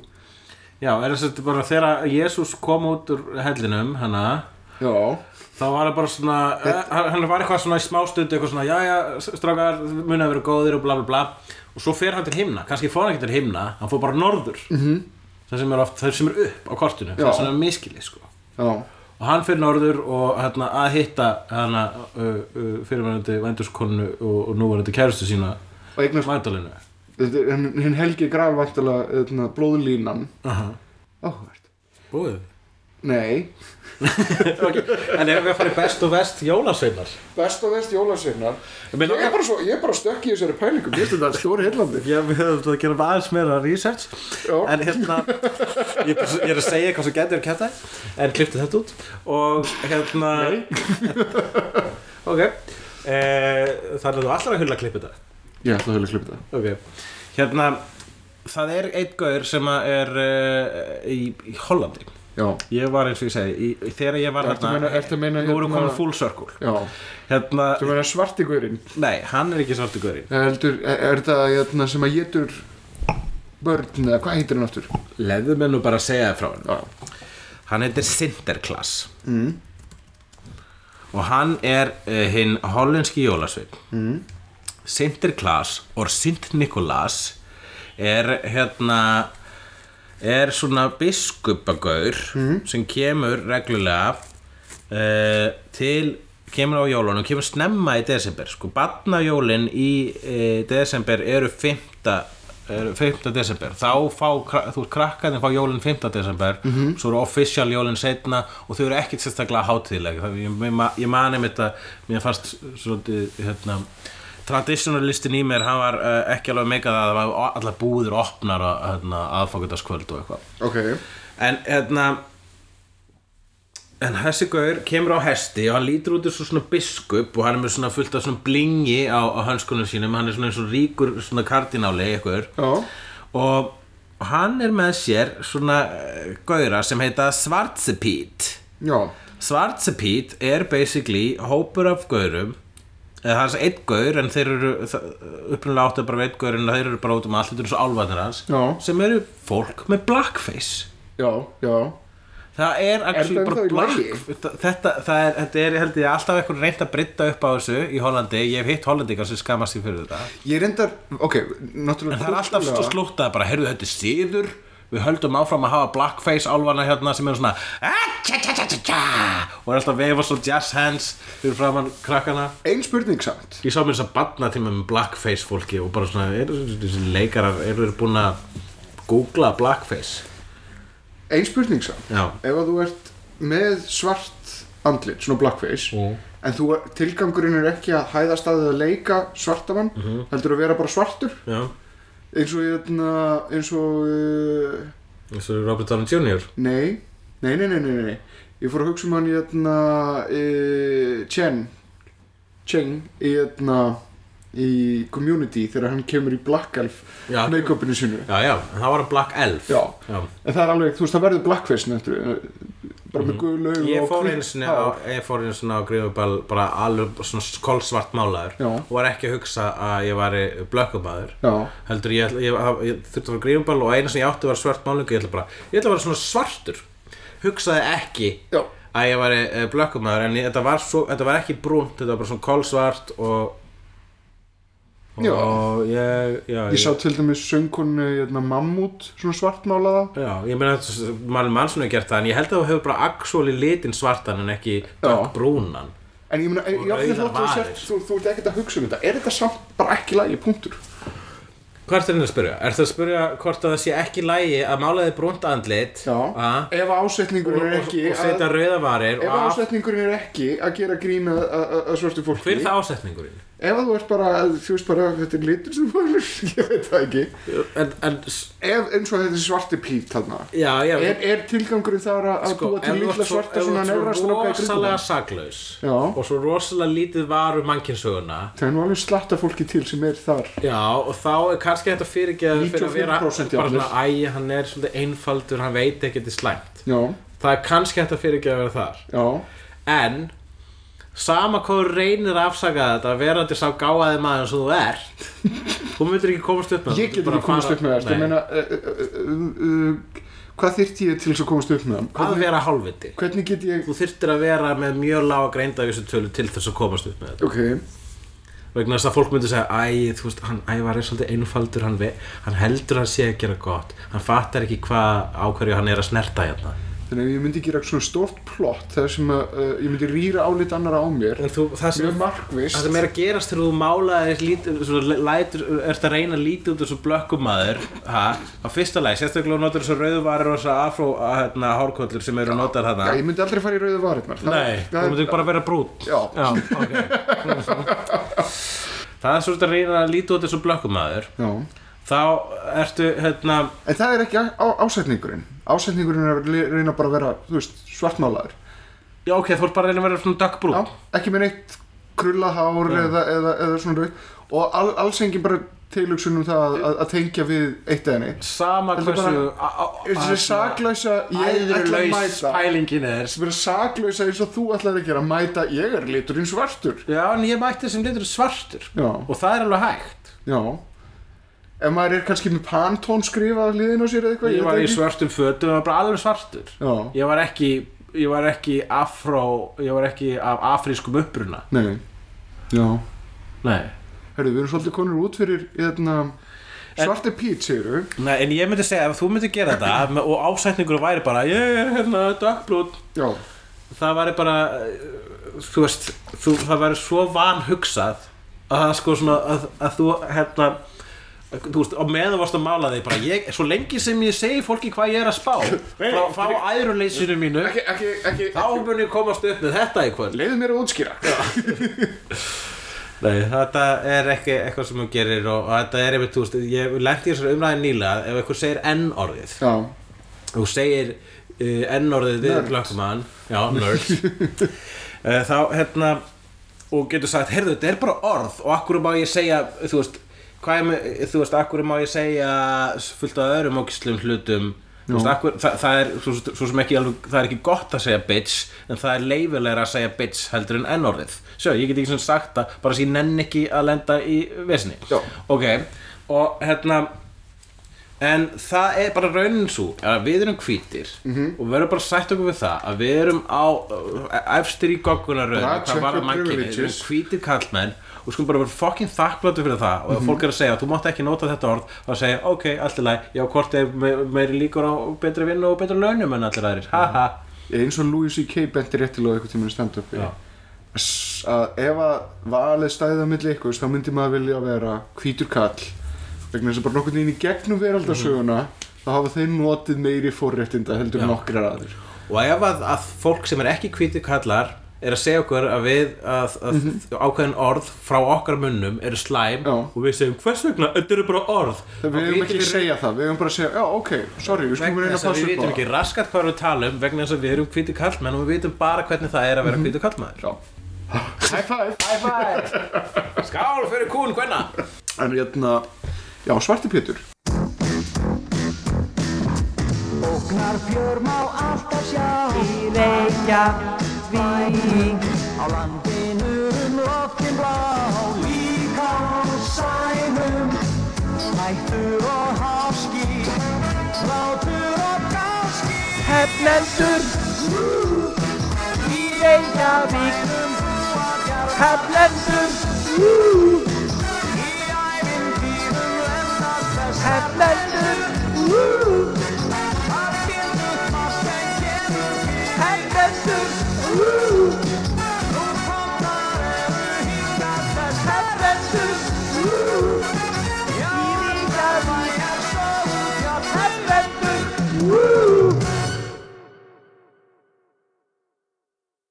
[SPEAKER 1] Já, er þess að bara þegar Jésús kom út úr hellinum, hana
[SPEAKER 2] já,
[SPEAKER 1] Þá var það bara svona, eh, hann hann var eitthvað svona í smástund, eitthvað svona, já, já, strákar, munið að vera góðir og bla, bla, bla. Og svo fer hann til himna, kannski fór hann ekki til himna, hann fór bara norður. -hmm. Það sem er oft, það sem er upp á kortinu,
[SPEAKER 2] Já.
[SPEAKER 1] það sem er miskilið, sko.
[SPEAKER 2] já,
[SPEAKER 1] Og hann fer norður og hérna að hitta hana uh, uh, fyrirvænandi vændurskonu og, og núverandi kærustu sína,
[SPEAKER 2] og eignast
[SPEAKER 1] Magdalenu.
[SPEAKER 2] Þetta er- hinn hinn helgi graf væntalega blóðlínan
[SPEAKER 1] Aha.
[SPEAKER 2] áhvert
[SPEAKER 1] (laughs) Búið.
[SPEAKER 2] nei,
[SPEAKER 1] En ef við farið best og vest jólasveinar?
[SPEAKER 2] best og vest jólasveinar
[SPEAKER 1] Mér
[SPEAKER 2] ég
[SPEAKER 1] langar-
[SPEAKER 2] er bara, svo- ég er bara stökk í þessari pælingu mér finnst þetta stóri heillandi
[SPEAKER 1] Já, við höfum þetta að gera aðeins meira research
[SPEAKER 2] Já.
[SPEAKER 1] En hérna ég, ég er að segja hvað sem getur kæta En klippti þetta út Og hérna (laughs) Ok e, Þannig að þú allar að hulla klippi þetta
[SPEAKER 2] ég ætla að höfðu að klippa það
[SPEAKER 1] Ok Hérna Það er einn gaur sem að er uh, í, í Hollandi
[SPEAKER 2] já,
[SPEAKER 1] Ég var eins og ég segi í, Þegar ég var
[SPEAKER 2] Ertu
[SPEAKER 1] þarna
[SPEAKER 2] meina- ertu meina
[SPEAKER 1] Nú erum
[SPEAKER 2] hérna-
[SPEAKER 1] komin full circle
[SPEAKER 2] já
[SPEAKER 1] Hérna
[SPEAKER 2] þú meina svartigurinn
[SPEAKER 1] Nei, hann er ekki svartu gaurinn
[SPEAKER 2] Eh, heldur, er, er það hérna, sem að getur börn eða hvað heitir hann aftur
[SPEAKER 1] Leðu mér nú bara að segja það frá hann
[SPEAKER 2] já,
[SPEAKER 1] Hann heitir Sinterklaas mm. og hann er uh, hinn hollenski jólasveinn mm. Sinterklaas og Sint Nikolas er hérna er svona biskupagaur sem kemur reglulega uh, til kemur á jólunum, kemur snemma í desember sko, barnajólin í uh, desember eru 5. eru 5. desember þá fá, kra- þú veist, krakkaðin fá jólin 5. desember svo eru official jólin setna og þau eru ekkit sérstaklega hátíðleg það, ég, ég, ma- ég mani mér þetta mér fannst svolítið hérna, traditionalistin í mér, hann var uh, ekki alveg meikað að það var allar búðir opnar að, hérna, aðfangutaskvöld og eitthvað
[SPEAKER 2] ok
[SPEAKER 1] En hérna En þessi gaur kemur á hesti og hann lítur út eins og svona biskup og hann er með svona fullt af svona blingi á, á hönskunum sínum, hann er svona eins og ríkur svona kardináli eitthvað
[SPEAKER 2] já,
[SPEAKER 1] og hann er með sér svona eh, gaura sem heita Svartsepít
[SPEAKER 2] já,
[SPEAKER 1] Svartsepít er basically hópur af gaurum eða það er einn gaur en þeir eru upprunalega áttu að bara veit gaur en þeir eru bara út um allt, þetta eru svo álvarnir hans
[SPEAKER 2] Já.
[SPEAKER 1] sem eru fólk með blackface
[SPEAKER 2] já, já
[SPEAKER 1] Það er, actually
[SPEAKER 2] þetta
[SPEAKER 1] bara
[SPEAKER 2] ennþá í lagi?
[SPEAKER 1] black, þetta, það er, þetta er, held ég, alltaf eitthvað reynt að breyta upp á þessu í Hollandi, ég hef hitt Hollandingar sem skammast sér fyrir þetta
[SPEAKER 2] Ég reyndar, ok,
[SPEAKER 1] En
[SPEAKER 2] náttúrulega
[SPEAKER 1] það er alltaf
[SPEAKER 2] kultúrlega-
[SPEAKER 1] slúttað bara, heyrðu þetta er síður Við höldum áfram að hafa blackface álfana hérna sem eru svona "Ah, tja, tja, tja, tja, tja," Og er alltaf að veifa svo jazz hands fyrir framann krakkana
[SPEAKER 2] Ein spurning samt
[SPEAKER 1] Ég sá mér þess að batna tíma með blackface fólki og bara svona, eru þessi leikarar, eru þeir búin að googla blackface?
[SPEAKER 2] Ein spurning samt
[SPEAKER 1] Já.
[SPEAKER 2] Ef að þú ert með svart andlit, svona blackface
[SPEAKER 1] Mm.
[SPEAKER 2] En þú, tilgangurinn er ekki að hæðast að að leika svartamann
[SPEAKER 1] Mhm.
[SPEAKER 2] Heldur að vera bara svartur
[SPEAKER 1] Já,
[SPEAKER 2] Eins og, hérna, eins og uh,
[SPEAKER 1] þessu Robert Downey Jr.
[SPEAKER 2] Nei, nei, nei, nei, nei, nei Ég fór að hugsa um hann í hérna uh, Chen Cheng í hérna í community þegar hann kemur í Black Elf
[SPEAKER 1] Já.
[SPEAKER 2] make-upinu sinu
[SPEAKER 1] Já, já, en það var hann Black Elf
[SPEAKER 2] Já.
[SPEAKER 1] já.
[SPEAKER 2] En það er alveg, þú veist, það verður blackface nættur eh, bara
[SPEAKER 1] Mhm.
[SPEAKER 2] með guð lög
[SPEAKER 1] Ég
[SPEAKER 2] og
[SPEAKER 1] fór
[SPEAKER 2] hvítt
[SPEAKER 1] einu sinni
[SPEAKER 2] hár.
[SPEAKER 1] á, ég fór einu sinni á gríðubal bara alveg svona kolsvart málaður
[SPEAKER 2] Já.
[SPEAKER 1] og var ekki að hugsa að ég væri blökkumæður
[SPEAKER 2] Já,
[SPEAKER 1] heldur ég, ég, ég, ég þurfti að fara gríðubal og einu sinni ég átti að vera svart málingu ég ætla bara, ég ætla að vera svona svartur hugsaði ekki
[SPEAKER 2] Já.
[SPEAKER 1] að ég væri blökkumæður en ég, þetta, var svo, þetta var ekki brúnt, þetta var bara svona kolsvart og og
[SPEAKER 2] Já.
[SPEAKER 1] ég, já,
[SPEAKER 2] ég sá til dæmis söngkonu hérna, mammút, svona svartmálaða
[SPEAKER 1] Já, ég meina að Marlon Manson hefur gert það en ég held að það hefur bara actually litin svartan en ekki brúnan
[SPEAKER 2] En ég meina, ég
[SPEAKER 1] rauðar
[SPEAKER 2] aftur þótt þú
[SPEAKER 1] varir.
[SPEAKER 2] sért, þú, þú ert ekkert að hugsa um þetta Er þetta samt bara ekki lægi, punktur?
[SPEAKER 1] Hvað ertu henni að spyrja? Ertu að spyrja hvort að það sé ekki lægi að mála þið brúnt andlit
[SPEAKER 2] Já,
[SPEAKER 1] að-
[SPEAKER 2] ef að ásetningurinn
[SPEAKER 1] og,
[SPEAKER 2] er
[SPEAKER 1] og,
[SPEAKER 2] ekki
[SPEAKER 1] og setja
[SPEAKER 2] að,
[SPEAKER 1] rauðavarir
[SPEAKER 2] Ef
[SPEAKER 1] og
[SPEAKER 2] að
[SPEAKER 1] af
[SPEAKER 2] ásetningurinn er ekki að gera grína að svörtu fólki
[SPEAKER 1] Hver er það ásetningurinn?
[SPEAKER 2] Ef að þú ert bara, þú veist bara, þetta er litur sem fólur (laughs) Ég veit það ekki
[SPEAKER 1] En, en, s-
[SPEAKER 2] Ef eins og þetta er svarti pít þarna
[SPEAKER 1] já, já
[SPEAKER 2] Er, er tilgangurinn þar að sko,
[SPEAKER 1] sko,
[SPEAKER 2] búa til
[SPEAKER 1] ef þú
[SPEAKER 2] lilla
[SPEAKER 1] ert svo- ef
[SPEAKER 2] svarta
[SPEAKER 1] þú
[SPEAKER 2] svona
[SPEAKER 1] ert svo
[SPEAKER 2] nefrastráka í kringum
[SPEAKER 1] rosalega
[SPEAKER 2] hann?
[SPEAKER 1] saklaus
[SPEAKER 2] Já.
[SPEAKER 1] og svo rosalega lítið um varu mannkinsöguna
[SPEAKER 2] Það er nú alveg slatta fólki til sem er þar
[SPEAKER 1] Já, og þá er kannski þetta fyrirgeðað fyrir að vera bara
[SPEAKER 2] 95%
[SPEAKER 1] svona,
[SPEAKER 2] jafnir.
[SPEAKER 1] æ, hann er svolítið einfaldur, hann veit ekki þetta er slæmt.
[SPEAKER 2] Já,
[SPEAKER 1] Það er kannski hægt að fyrirgeða að vera þar.
[SPEAKER 2] já,
[SPEAKER 1] En, sama hvað þú reynir að afsaka þetta, verandi sá gáðaði maður sem þú
[SPEAKER 2] (laughs)
[SPEAKER 1] ert, þú myndir ekki komast upp með
[SPEAKER 2] ég get ekki komast upp með þetta Ég meina, uh, uh, uh, uh, hvað þyrfti ég til þess að komast upp með það?
[SPEAKER 1] Að
[SPEAKER 2] Hvernig,
[SPEAKER 1] vera hálfviti.
[SPEAKER 2] hvernig get ég,
[SPEAKER 1] Þú þyrftir að vera með mjög lága greindavísutölu til þess að komast upp með þetta.
[SPEAKER 2] ok
[SPEAKER 1] vegna þess að fólk myndi segja æ, þú veist, hann ævar er svolítið einfaldur hann, ve- hann heldur að hann sé að gera gott hann fattar ekki hvað á hverju hann er að snerta hérna
[SPEAKER 2] Þannig að ef ég myndi gera svona stórt plott þar sem að uh, ég myndi rýra álit annar á mér
[SPEAKER 1] en þú, það
[SPEAKER 2] Mjög
[SPEAKER 1] sem,
[SPEAKER 2] markvist
[SPEAKER 1] það sem er að gerast þegar þú málaðir lítið, svona, lætur, ert að reyna að lítið út þessu blökkumadur ha, á fyrsta lagi, sérstaklega þú notar þessu rauðvarir og þessu afró hérna, hárkollur sem eru notar
[SPEAKER 2] Já,
[SPEAKER 1] þarna
[SPEAKER 2] Ég myndi aldrei fara í rauðu varirnar Það-
[SPEAKER 1] Nei,
[SPEAKER 2] það
[SPEAKER 1] þú myndir bara vera brút
[SPEAKER 2] Já.
[SPEAKER 1] ok Það er svolítið að reyna að líti út þessu blökkumadur
[SPEAKER 2] Já
[SPEAKER 1] Þá ertu, hérna,
[SPEAKER 2] En það er ekki á, á, ásetningurinn Ásetningurinn er að le- reyna bara að vera, þú veist, svartmálaður
[SPEAKER 1] Já, ok, þú ert bara að reyna að vera svona dökkbrún
[SPEAKER 2] Já, ekki með neitt krullað hár eða, eða, eða svona rauð og all, alls engin bara tilugsun um það að, að tengja við eitt eða neitt
[SPEAKER 1] Sama
[SPEAKER 2] Heldur
[SPEAKER 1] hversu
[SPEAKER 2] bara-
[SPEAKER 1] a- a-
[SPEAKER 2] Er þessi saklausa ég ætla að
[SPEAKER 1] æðrulaus
[SPEAKER 2] mæta
[SPEAKER 1] pælingin er
[SPEAKER 2] sem er saklausa eins og þú ætlar að gera mæta ég er liturinn svartur
[SPEAKER 1] Já, en ég mætti sem litur svartur
[SPEAKER 2] Já,
[SPEAKER 1] Og það er alveg hægt
[SPEAKER 2] já Ef maður er kannski með pantón skrifað á hliðin á sér eða eitthvað
[SPEAKER 1] Ég var
[SPEAKER 2] veit
[SPEAKER 1] í
[SPEAKER 2] ekki.
[SPEAKER 1] svartum fötum, ég var bara alveg svartur
[SPEAKER 2] Já,
[SPEAKER 1] Ég var ekki, ég var ekki afró Ég var ekki af afrískum uppruna
[SPEAKER 2] nei, já
[SPEAKER 1] Nei
[SPEAKER 2] Herru, við erum svolítið konur út fyrir hérna, svarti pít, segir þú
[SPEAKER 1] Nei, en ég myndi segja ef þú myndi gera þetta með- og ásætningur væri bara ég er hérna dökkbrún
[SPEAKER 2] Já,
[SPEAKER 1] það væri bara uh, þú veist, þú, það væri svo vanhugsað að það sko svona að, að þú hérna að- þú veist, á meðan varst að mála þig bara ég, svo lengi sem ég segi fólki hvað ég er að spá frá, frá æruleysinu mínu
[SPEAKER 2] ekki, ekki, ekki
[SPEAKER 1] þá mun ég komast upp með þetta í kvöld
[SPEAKER 2] Leiðu mér að útskýra
[SPEAKER 1] Nei, þetta er ekki eitthvað sem hún gerir og, og þetta er einmitt, þú veist, ég lenti í þessari umræðin nýlega ef eitthvað segir enn orðið
[SPEAKER 2] Já,
[SPEAKER 1] þú segir uh, n-orðið við
[SPEAKER 2] Nerd.
[SPEAKER 1] glöggmann já, nerd uh, þá hérna og getur sagt, heyrðu, þetta er bara orð og akkur má ég segja, þú veist hvað er með, eh, þú veist, akkur má ég segja fullt af öðrum ógislum hlutum þú veist, akkur, það, það er svo, svo sem ekki alveg, það er ekki gott að segja bitch en það er leifilegra að segja bitch heldur en n-orðið sjá, ég get ekki svona sagt það, bara þess að ég nenn ekki að lenda í vesni
[SPEAKER 2] Já.
[SPEAKER 1] ok, og hérna en það er bara raunin svo að við erum hvítir
[SPEAKER 2] Mhm.
[SPEAKER 1] og við erum bara sætt okkur við það að við erum á uh, efstir í goggunaröðinu
[SPEAKER 2] Bara
[SPEAKER 1] hvað
[SPEAKER 2] check
[SPEAKER 1] var
[SPEAKER 2] your
[SPEAKER 1] að mannkynni, við erum
[SPEAKER 2] privileges.
[SPEAKER 1] hvítir kallmenn og við skulum bara vera fokkin þakkláttu fyrir það og
[SPEAKER 2] Mhm.
[SPEAKER 1] ef fólk er að segja þú mátt ekki nota þetta orð þá segja ok, allt er læg, já hvort er me- meiri líkur á betra vinnu og betra launum en allir aðrir, haha
[SPEAKER 2] eins og Louis C.K. benti réttilega eitthvað tíminn stand-upi
[SPEAKER 1] Já.
[SPEAKER 2] S- að ef að valið stæðið á milli eitthvað þá myndi maður vilja vera hvítur kall vegna þess að bara nokkurn veginn í gegnum veraldarsöguna þá hafa þeir notið meiri fórréttinda heldur
[SPEAKER 1] Mhm. Já.
[SPEAKER 2] nokkrar aður
[SPEAKER 1] og ef að, að fólk sem er ekki hvítir kallar er að segja okkur að við að, að ákveðin orð frá okkar munnum eru slæm
[SPEAKER 2] Mhm. Já.
[SPEAKER 1] og við segjum hvers vegna, þetta eru bara orð
[SPEAKER 2] það
[SPEAKER 1] Og
[SPEAKER 2] við
[SPEAKER 1] vitum
[SPEAKER 2] hefum ekki að segja það, við hefum bara að segja já ok, sorry, við skulum
[SPEAKER 1] vegna
[SPEAKER 2] reyna
[SPEAKER 1] þess
[SPEAKER 2] að
[SPEAKER 1] að
[SPEAKER 2] passa
[SPEAKER 1] við
[SPEAKER 2] upp á
[SPEAKER 1] vitum ekki raskat hvað við talum vegna þess að við erum hvítir kallmenn og við vitum bara hvernig það er að
[SPEAKER 2] Mhm.
[SPEAKER 1] vera hvítir kallmaður
[SPEAKER 2] það. Já. high five
[SPEAKER 1] High five! Skál fyrir kún, hvenna!
[SPEAKER 2] en hérna, já, svarti Pétur
[SPEAKER 4] Óknar fjör má alltaf sjá Í Reykjavík Á landinu um loftin blá Líka á sænum Hættur og háski Látur og gáski Hefnendur Í Reykjavík Hefnendur Í ævintýrum lennast þess Hefnendur